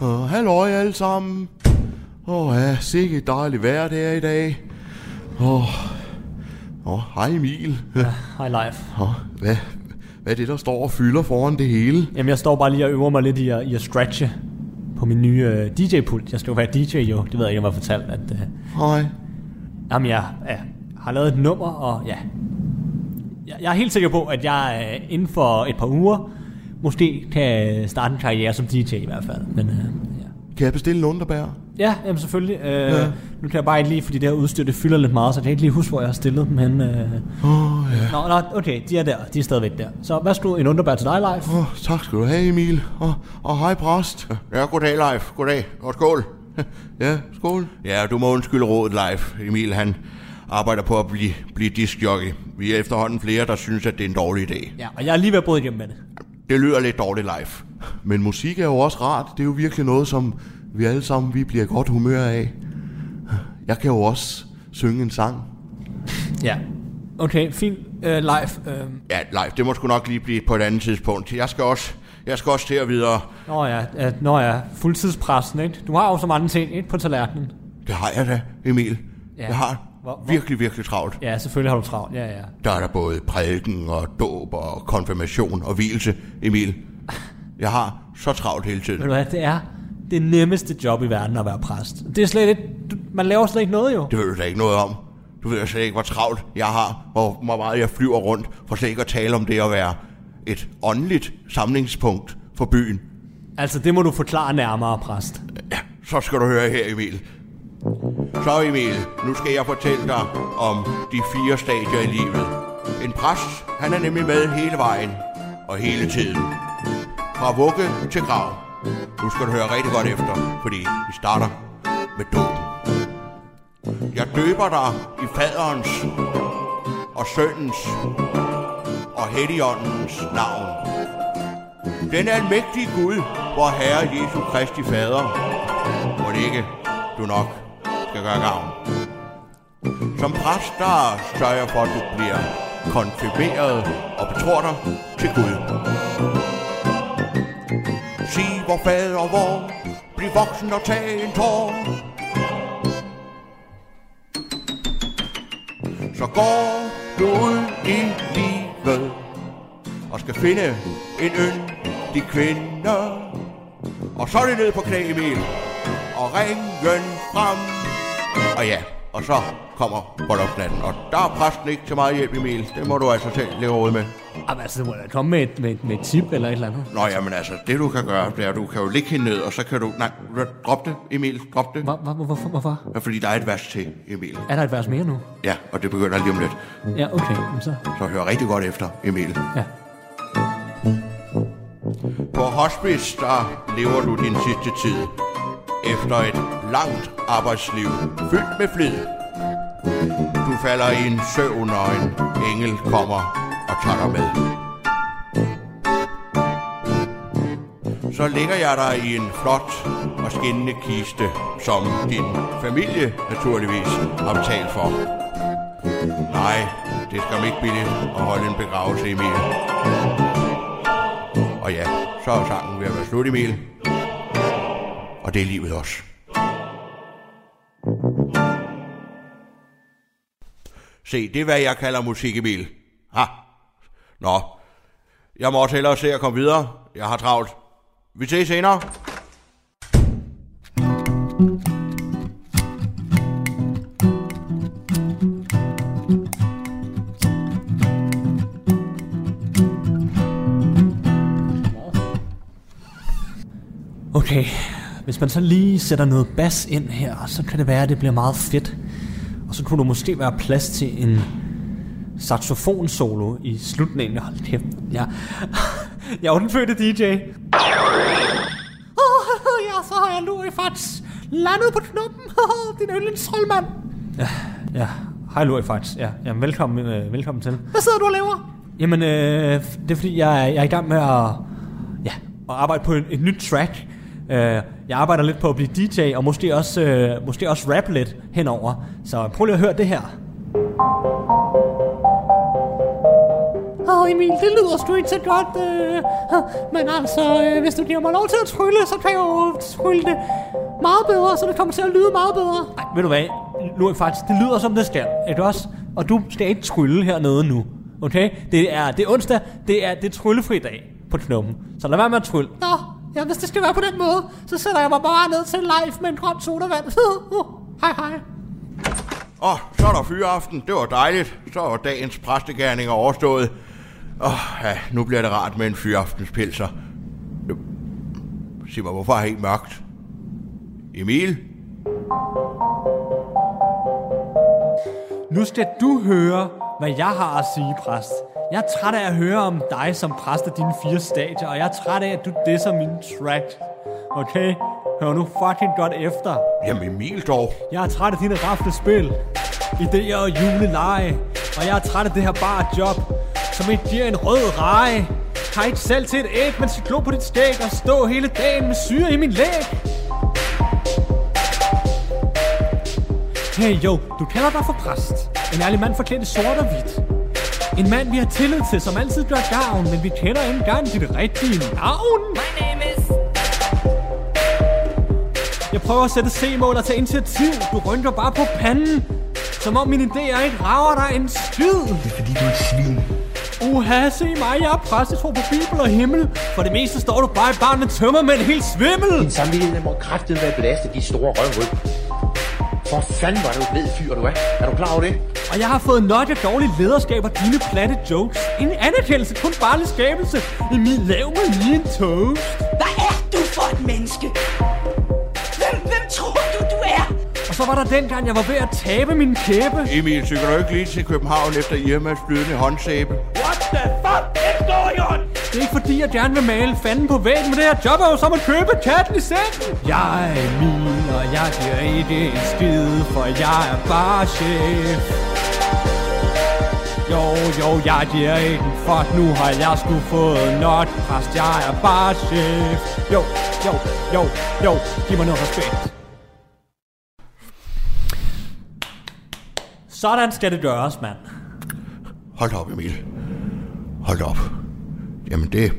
Speaker 6: Og halløj alle sammen. Åh oh, ja, sikke et dejligt vejr det er i dag. Åh, oh. oh, hej Emil. Ja.
Speaker 5: Hej live.
Speaker 6: Oh, hvad, hvad er det, der står og fylder foran det hele?
Speaker 5: Jamen jeg står bare lige og øver mig lidt i at, i at stretche på min nye øh, DJ-pult. Jeg skal jo være DJ jo, det ved jeg ikke, om jeg har fortalt. At, øh,
Speaker 6: Hej.
Speaker 5: jamen jeg ja, har lavet et nummer, og ja. Jeg, jeg er helt sikker på, at jeg øh, inden for et par uger måske kan øh, starte en karriere som DJ i hvert fald. Men øh, ja.
Speaker 6: Kan jeg bestille en underbær?
Speaker 5: Ja, jamen selvfølgelig. Øh, ja.
Speaker 6: Ja.
Speaker 5: Nu kan jeg bare ikke lige, fordi det her udstyr, det fylder lidt meget, så jeg kan ikke lige huske, hvor jeg har stillet dem hen. Øh.
Speaker 6: Åh oh, ja.
Speaker 5: Nå, nå, okay, de er der. De er stadigvæk der. Så værsgo, en underbær til dig, Leif.
Speaker 6: Åh, oh, tak skal du have, Emil. Og, og hej, præst. Ja, goddag, Leif. Goddag. Og skål. Ja, skål. Ja, du må undskylde rådet, Leif. Emil, han arbejder på at blive, blive diskjockey. Vi er efterhånden flere, der synes, at det er en dårlig idé.
Speaker 5: Ja, og jeg er lige ved at bryde igennem med det.
Speaker 6: det lyder lidt dårligt live. Men musik er jo også rart. Det er jo virkelig noget, som vi alle sammen vi bliver i godt humør af. Jeg kan jo også synge en sang.
Speaker 8: Ja.
Speaker 5: Okay, fint. Øh, live. Øh.
Speaker 6: Ja, live, det må sgu nok lige blive på et andet tidspunkt. Jeg skal også, jeg skal også til at videre.
Speaker 5: Nå ja, ja, nå ja, fuldtidspressen, ikke? Du har jo så mange ting, ikke? På tallerkenen.
Speaker 6: Det har jeg da, Emil.
Speaker 5: Ja.
Speaker 6: Ja. Jeg har
Speaker 5: Hvor- hvor-
Speaker 6: virkelig, virkelig travlt.
Speaker 5: Ja, selvfølgelig har du travlt. Ja, ja.
Speaker 6: Der er der både prædiken og dåb og konfirmation og hvilelse, Emil. Jeg har så travlt hele
Speaker 5: Ved
Speaker 6: tiden.
Speaker 5: du hvad, det er det nemmeste job i verden at være præst. Det er slet ikke, du, man laver slet ikke noget jo.
Speaker 6: Det ved du da ikke noget om. Du ved slet ikke, hvor travlt jeg har, og hvor meget jeg flyver rundt, for slet ikke at tale om det at være et åndeligt samlingspunkt for byen.
Speaker 5: Altså, det må du forklare nærmere, præst.
Speaker 6: Ja, så skal du høre her, Emil. Så Emil, nu skal jeg fortælle dig om de fire stadier i livet. En præst, han er nemlig med hele vejen og hele tiden. Fra vugge til grav. Nu skal du høre rigtig godt efter, fordi vi starter med dåben. Jeg døber dig i faderens og sønnens og helligåndens navn. Den almægtige Gud, vor Herre Jesu Kristi Fader, må det ikke du nok skal gøre gavn. Som præst, der sørger jeg for, at du bliver konfirmeret og betror dig til Gud. Sig vor fader vor, bliv voksen og tag en tår. Så går du ud i livet og skal finde en yndig kvinde. Og så er det ned på knæ, Emil, og ringen frem. Og ja, og så kommer bryllupsnatten, og der er præsten ikke til meget hjælp, Emil. Det må du altså selv lægge råd med.
Speaker 5: Jamen, altså, du må da komme med et, med, et- med et tip eller et eller andet.
Speaker 6: Nå, jamen altså, det du kan gøre, det er, at du kan jo ligge hende ned, og så kan du... Nej, drop det, Emil, drop det.
Speaker 5: Hvor, hvor, hvor, hvorfor, hvorfor?
Speaker 6: Ja, Fordi der er et vers til, Emil.
Speaker 5: Er der et vers mere nu?
Speaker 6: Ja, og det begynder lige om lidt.
Speaker 5: Ja, okay. Jamen, så.
Speaker 6: Så hør rigtig godt efter, Emil.
Speaker 5: Ja.
Speaker 6: På hospice, der lever du din sidste tid. Efter et langt arbejdsliv, fyldt med flid. Du falder i en søvn, og en engel kommer og tager dig med. Så ligger jeg dig i en flot og skinnende kiste, som din familie naturligvis har betalt for. Nej, det skal man ikke billigt at holde en begravelse, Emil. Og ja, så er sangen ved at være slut, Emil. Og det er livet også. Se, det er, hvad jeg kalder musik, Emil. Ha! Nå, jeg må også hellere se at komme videre. Jeg har travlt. Vi ses senere.
Speaker 5: Okay, hvis man så lige sætter noget bas ind her, så kan det være, at det bliver meget fedt. Og så kunne der måske være plads til en saxofonsolo i slutningen. Hold kæft, ja. [laughs] jeg er jo den fødte DJ. Åh, oh, ja, så har jeg Lurifats landet på [laughs] knuppen. Oh, din yndlingstrollmand. Ja, ja. Hej Lurifats. Ja, jamen, velkommen, øh, velkommen til. Hvad sidder du og laver? Jamen, øh, det er fordi, jeg, er- jeg er i gang med at Ja, og arbejde på en, et nyt track. Uh, jeg arbejder lidt på at blive DJ, og måske også, uh, måske også rap lidt henover. Så prøv lige at høre det her. Åh oh, Emil, det lyder sgu ikke så godt, øh, men altså, øh, hvis du giver mig lov til at trylle, så kan jeg jo trylle det meget bedre, så det kommer til at lyde meget bedre. Ej, ved du hvad, nu er faktisk, det lyder som det skal, ikke også? Og du skal ikke trylle hernede nu, okay? Det er, det er onsdag, det er, det er tryllefri dag på knuppen, så lad være med at trylle. Nå, ja, hvis det skal være på den måde, så sætter jeg mig bare ned til live med en grøn sodavand. [laughs] uh, hej hej.
Speaker 6: Åh, så er der fyreaften. Det var dejligt. Så var dagens præstegærning overstået. Åh, ja, nu bliver det rart med en fyreaftenspilser. Øh, Sig mig, hvorfor er det ikke mørkt? Emil?
Speaker 5: Nu skal du høre, hvad jeg har at sige, præst. Jeg er træt af at høre om dig som præst af dine fire stadier, og jeg er træt af, at du disser min track. Okay? Hør nu fucking godt efter.
Speaker 6: Jamen Emil dog.
Speaker 5: Jeg er træt af dine rafte spil, idéer og juleleje, og jeg er træt af det her bare job, som ikke giver en rød reje. Tight selv til et æg, mens jeg glor på dit skæg og stå hele dagen med syre i min læg. Hey jo, du kalder dig for præst. En ærlig mand forklædt i sort og hvidt. En mand, vi har tillid til, som altid gør gavn, men vi kender ikke engang dit rigtige navn. Jeg prøver at sætte C-mål og tage initiativ. Du rynker bare på panden. Som om mine idéer ikke rager dig en skid. Det er fordi, du er et svin. Uha, se mig, jeg er præstetro på Bibel og himmel. For det meste står du bare i barn med tømmer med en helt svimmel. Din samvittighed må kraftigt være belastet de store røvhul. For fanden var du et ved fyr, du er. Er du klar over det? Og jeg har fået nok af dårligt lederskab og dine platte jokes. En anerkendelse, kun barnlig skabelse. I min lav mig lige en toast. Hvad er du for et menneske? Hvem, hvem tror du, du er? Og så var der dengang, jeg var ved at tabe min kæbe.
Speaker 6: Emil, cykler du ikke lige til København efter Irmas flydende håndsæbe?
Speaker 5: What the fuck is going on? Det er ikke fordi, jeg gerne vil male fanden på væggen, men det her job er jo som at købe katten i sækken. Jeg er Emil, og jeg giver ikke en skid, for jeg er bare chef. Jo, jo, jeg giver ikke en fuck, nu har jeg sgu fået nok præst, jeg er bare chef. Jo, jo, jo, jo, giv mig noget respekt. Sådan skal det gøres, mand.
Speaker 6: Hold da op, Emil. Hold da op. Jamen det...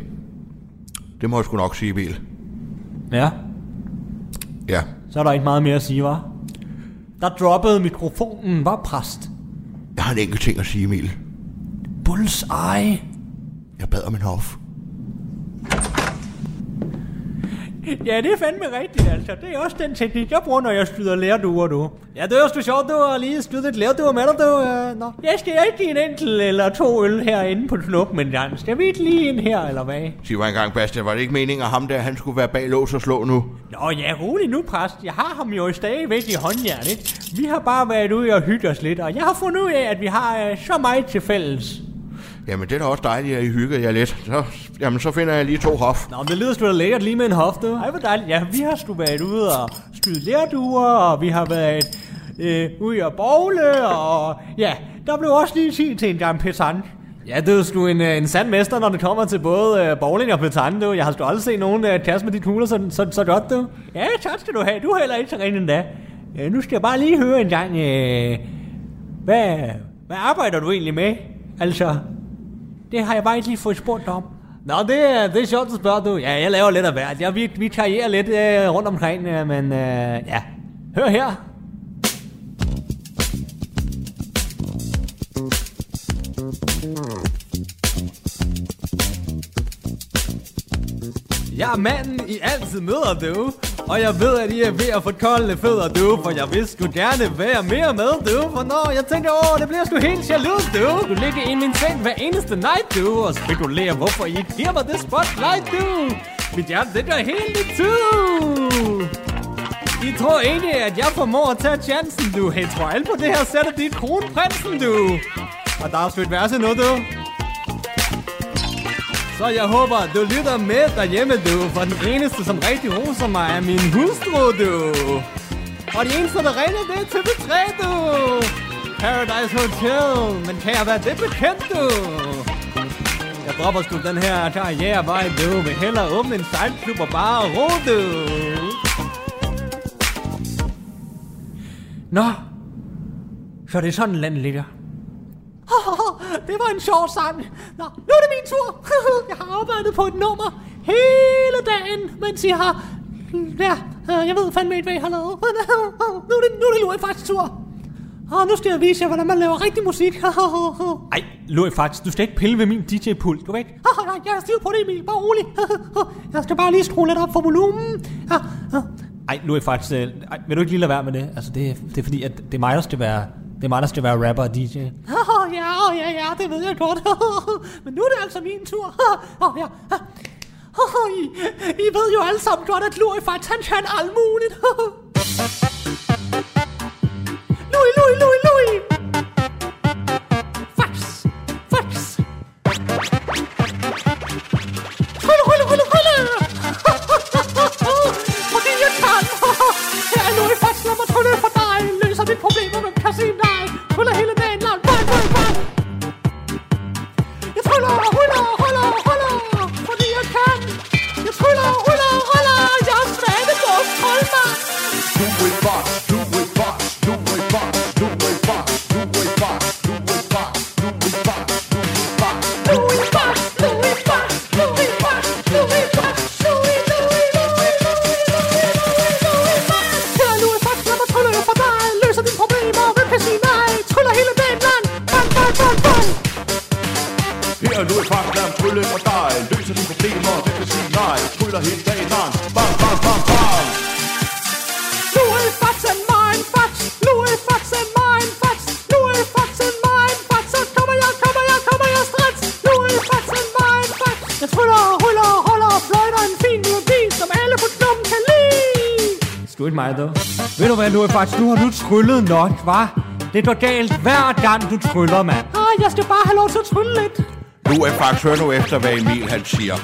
Speaker 6: Det må jeg sgu nok sige, Emil.
Speaker 5: Ja.
Speaker 6: Ja.
Speaker 5: Så er der ikke meget mere at sige, var. Der droppede mikrofonen, var præst.
Speaker 6: Jeg har en enkelt ting at sige, Emil.
Speaker 5: Bullseye.
Speaker 6: Jeg bad om en hof.
Speaker 5: Ja, det er fandme rigtigt, altså. Det er også den teknik, jeg bruger, når jeg skyder lærduer, du. Ja, det er også sjovt, du har lige skyde et lærduer med dig, du. Øh, nå. Jeg skal ikke give en enkelt eller to øl herinde på knuppen en gang. Skal vi ikke lige ind her, eller hvad?
Speaker 6: Sig mig engang, Bastian, var det ikke meningen, at ham der, han skulle være bag lås og slå nu?
Speaker 5: Nå ja, rolig nu, præst. Jeg har ham jo stadigvæk i håndjern, ikke? Vi har bare været ude og hygge os lidt, og jeg har fundet ud af, at vi har øh, så meget til fælles.
Speaker 6: Jamen, det er da også dejligt, at I hyggede jer lidt. Så, jamen, så finder jeg lige to hof.
Speaker 5: Nå, men det lyder sgu da lækkert lige med en hofte. Ej, hvor dejligt. Ja, vi har sgu været ude og skyde lærduer, og vi har været øh, ude og bowle, og ja, der blev også lige tid til en gang petanque. Ja, det er jo sgu en, øh, en sand mester, når det kommer til både øh, bowling og petanque, du. Jeg har sgu aldrig set nogen øh, kaste med de kugler så, så, så godt, du. Ja, tak skal du have. Du er heller ikke så ren endda. Øh, nu skal jeg bare lige høre en gang, øh, hvad, hvad arbejder du egentlig med? Altså, det har jeg bare ikke lige fået spurgt dig om. Nå, det, er- det er sjovt, du spørger du. Ja, jeg laver lidt af hvert. Ja, vi, vi karrierer lidt øh, rundt omkring, øh, men øh, ja. Hør her. Jeg er manden, I altid møder, du. Og jeg ved, at I er ved at få kolde fødder, du. For jeg vil sgu gerne være mere med, du. For når jeg tænker over, det bliver sgu helt jaloux, du. Du ligger i min seng hver eneste night, du. Og spekulerer, hvorfor I ikke giver mig det spotlight, du. Mit hjerte, det gør helt i tu. I tror egentlig, at jeg formår at tage chancen, du. Hey, tror alle på det her sæt, at det er kronprinsen, du. Og der er sgu et værse nu, du. Så jeg håber, du lytter med derhjemme, du. For den eneste, som rigtig roser mig, er min hustru, du. Og de eneste, der ringer, det er TV3, du. Paradise Hotel. Men kan jeg være det bekendt, du? Jeg dropper sgu den her karrierevej, du. Vil hellere åbne en sejlklub og bare ro, du. Nå, så det er sådan landet ligger. [laughs] det var en sjov sang. Nå, nu er det min tur. [laughs] jeg har arbejdet på et nummer hele dagen, mens I har... Ja, øh, jeg ved fandme ikke, hvad I har lavet. [laughs] nu er det, nu er det Louis Farts tur. Og nu skal jeg vise jer, hvordan man laver rigtig musik. [laughs] Ej, Louis Farts, du skal ikke pille ved min DJ-pult, du ved. Nej, jeg har styr på det, Emil. Bare rolig. [laughs] jeg skal bare lige skrue lidt op for volumen. Ja, ja. Ej, nu er jeg faktisk... øh, Ej, vil du ikke lige lade være med det? Altså, det, det er fordi, at det er mig, der skal være... Det er mig, der skal være rapper og DJ.
Speaker 9: Åh, oh, ja, åh, ja, ja, det ved jeg godt. [laughs] Men nu er det altså min tur. [laughs] Åh, ja. Åh, I, I ved jo alle sammen godt, at Louis faktisk han kan alt muligt. [laughs] Louis, Louis, Louis, Louis. Fax, fax. Rulle, rulle, rulle, rulle. Fordi jeg kan. Her er Louis Fax, lad mig trylle for dig. Løser dit problemer, hvem kan se dig? Ruller hele dagen lang. Bang, bang, bang. Jeg tryller, ruller, ruller, ruller.
Speaker 6: tryller hele dagen lang. Bang, bang, bang, bang.
Speaker 10: Louis Fox and mine Fox, Louis Fox and mine Fox, Louis Fox and mine Fox, så kommer jeg, kommer jeg, kommer jeg straks. Louis Fox and mine Fox. Jeg tryller, ruller, holder og fløjter en fin melodi, som alle på klubben kan lide.
Speaker 7: Sgu ikke mig, dog. Ved du hvad, Louis Fax? Nu har du tryllet nok, hva? Det går galt hver gang, du tryller, mand.
Speaker 10: Ah, jeg skal bare have lov til at trylle lidt.
Speaker 6: Nu er Fax, hør nu efter, hvad Emil han siger.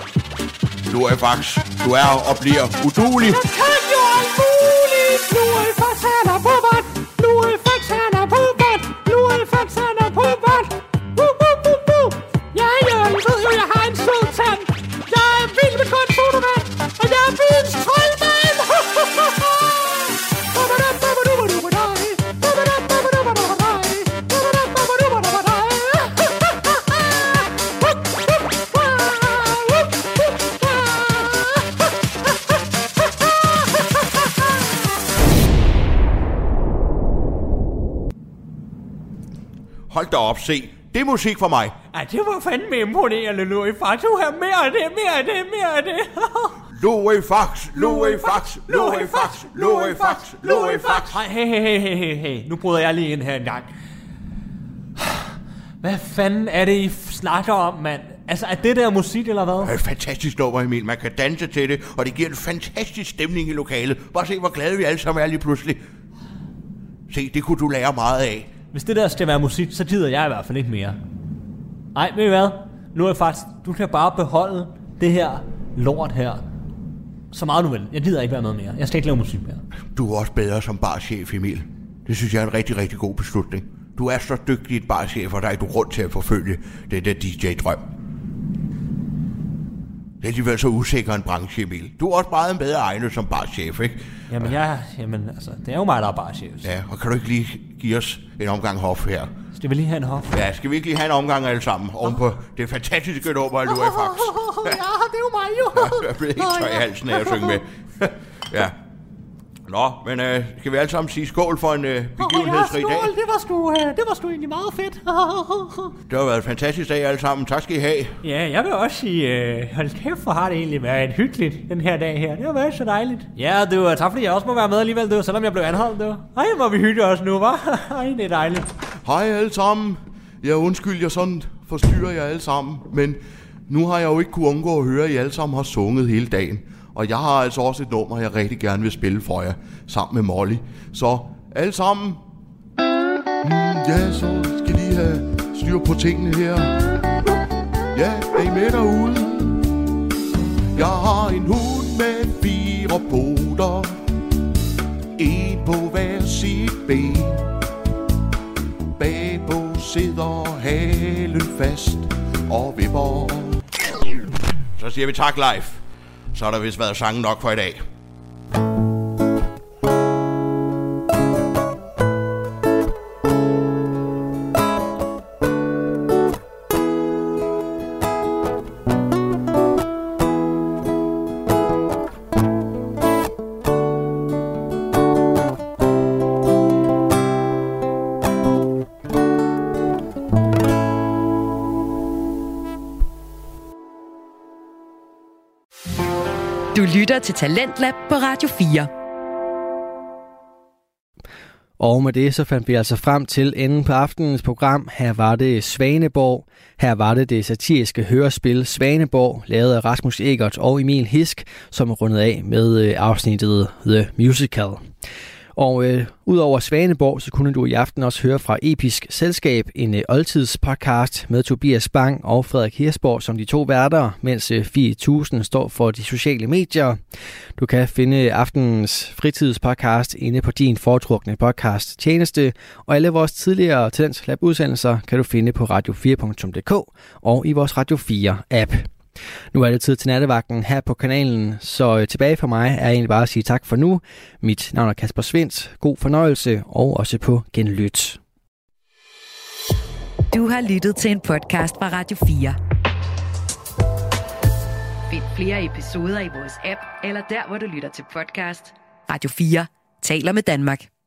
Speaker 6: Nu er Fax, du er og bliver udulig.
Speaker 10: Jeg kan jo alt muligt. Louis Fox, han er på vagt. Louis Fox, han er på vagt. Louis Fox, han er på vagt. Uh, uh, uh, uh. Ja, ja, I ved jo, jeg har en sød tand. Jeg er vild med grøn sodavand. Og jeg er byens troldmand. [laughs]
Speaker 6: Hold da op, se. Det er musik for mig.
Speaker 5: Ej, det var fandme imponerende, Louis Fax. Du har mere af det, mere af det, mere af det.
Speaker 6: Louis Fax, Louis Fax, Louis Fax, Louis Fax, Louis Fax.
Speaker 7: Hej, hey, hey, hey, hey, hey, hey. Nu bryder jeg lige ind her en gang. Hvad fanden er det, I snakker om, mand? Altså, er det der musik, eller hvad?
Speaker 6: Det er et fantastisk nummer, Emil. Man kan danse til det, og det giver en fantastisk stemning i lokalet. Bare se, hvor glade vi alle sammen er lige pludselig. Se, det kunne du lære meget af.
Speaker 7: Hvis det der skal være musik, så gider jeg i hvert fald ikke mere. Ej, ved I hvad? Nu er jeg faktisk... Du kan bare beholde det her lort her. Så meget du vil. Jeg gider ikke være med mere. Jeg skal ikke lave musik mere.
Speaker 6: Du er også bedre som barchef, Emil. Det synes jeg er en rigtig, rigtig god beslutning. Du er så dygtig et barchef, og der er ikke grund til at forfølge den der DJ-drøm. Det er alligevel så usikker en branche, Emil. Du er også meget bedre egnet som barchef, ikke?
Speaker 7: Jamen, jeg... Jamen, altså, det er jo mig, der er bare chef. Ja.
Speaker 6: Ja, og kan du ikke lige give os en omgang hof her?
Speaker 7: Skal vi lige have en hof?
Speaker 6: Ja, skal vi ikke lige have en omgang alle sammen oven på det fantastiske nummer, af Louis Fax?
Speaker 10: [laughs] Ja, det er jo mig jo.
Speaker 6: Jeg blev helt tør i halsen af at synge med. [laughs] ja. Nå, men øh, skal vi alle sammen sige skål for en øh, begivenhedsrig dag?
Speaker 10: Det var sgu, øh, det var sgu egentlig meget fedt. [laughs]
Speaker 6: Det har været en fantastisk dag alle sammen. Tak skal I have.
Speaker 7: Ja, jeg vil også sige, øh, hold kæft, hvor har det egentlig været hyggeligt den her dag her. Det har været så dejligt. Ja, det var tak, fordi jeg også må være med alligevel, det var, selvom jeg blev anholdt. Det var. Ej, hvor vi hygge os nu, var? [laughs] Ej, det er dejligt.
Speaker 6: Hej alle sammen. Jeg undskyld, jeg sådan forstyrrer jer alle sammen, men nu har jeg jo ikke kunnet undgå at høre, at I alle sammen har sunget hele dagen. Og jeg har altså også et nummer, jeg rigtig gerne vil spille for jer, sammen med Molly. Så alle sammen. Mm, ja, så skal I have styr på tingene her. Ja, er I med derude? Jeg har en hund med fire poter. En på hver sit ben. Bagpå sidder halen fast og vipper. Så siger vi tak live. Så har der vist været sange nok for i dag.
Speaker 4: Du lytter til Talentlab på Radio 4.
Speaker 1: Og med det så fandt vi altså frem til enden på aftenens program. Her var det Svaneborg. Her var det det satiriske hørespil Svaneborg, lavet af Rasmus Egert og Emil Hisk, som er rundet af med øh, afsnittet The Musical. Og øh, udover Svaneborg, så kunne du i aften også høre fra Episk Selskab, en øh, oldtidspodcast med Tobias Bang og Frederik Hirsborg som de to værter, mens øh, 4000 står for de sociale medier. Du kan finde aftenens fritidspodcast inde på din foretrukne podcast tjeneste, og alle vores tidligere Talents Lab udsendelser kan du finde på radio4.dk og i vores Radio 4 app. Nu er det tid til nattevagten her på kanalen, så øh, tilbage for mig er egentlig bare at sige tak for nu. Mit navn er Kasper Svendt. God fornøjelse og også på genlyt.
Speaker 4: Du har lyttet til en podcast fra Radio 4. Find flere episoder i vores app, eller der, hvor du lytter til podcast. Radio 4 taler med Danmark.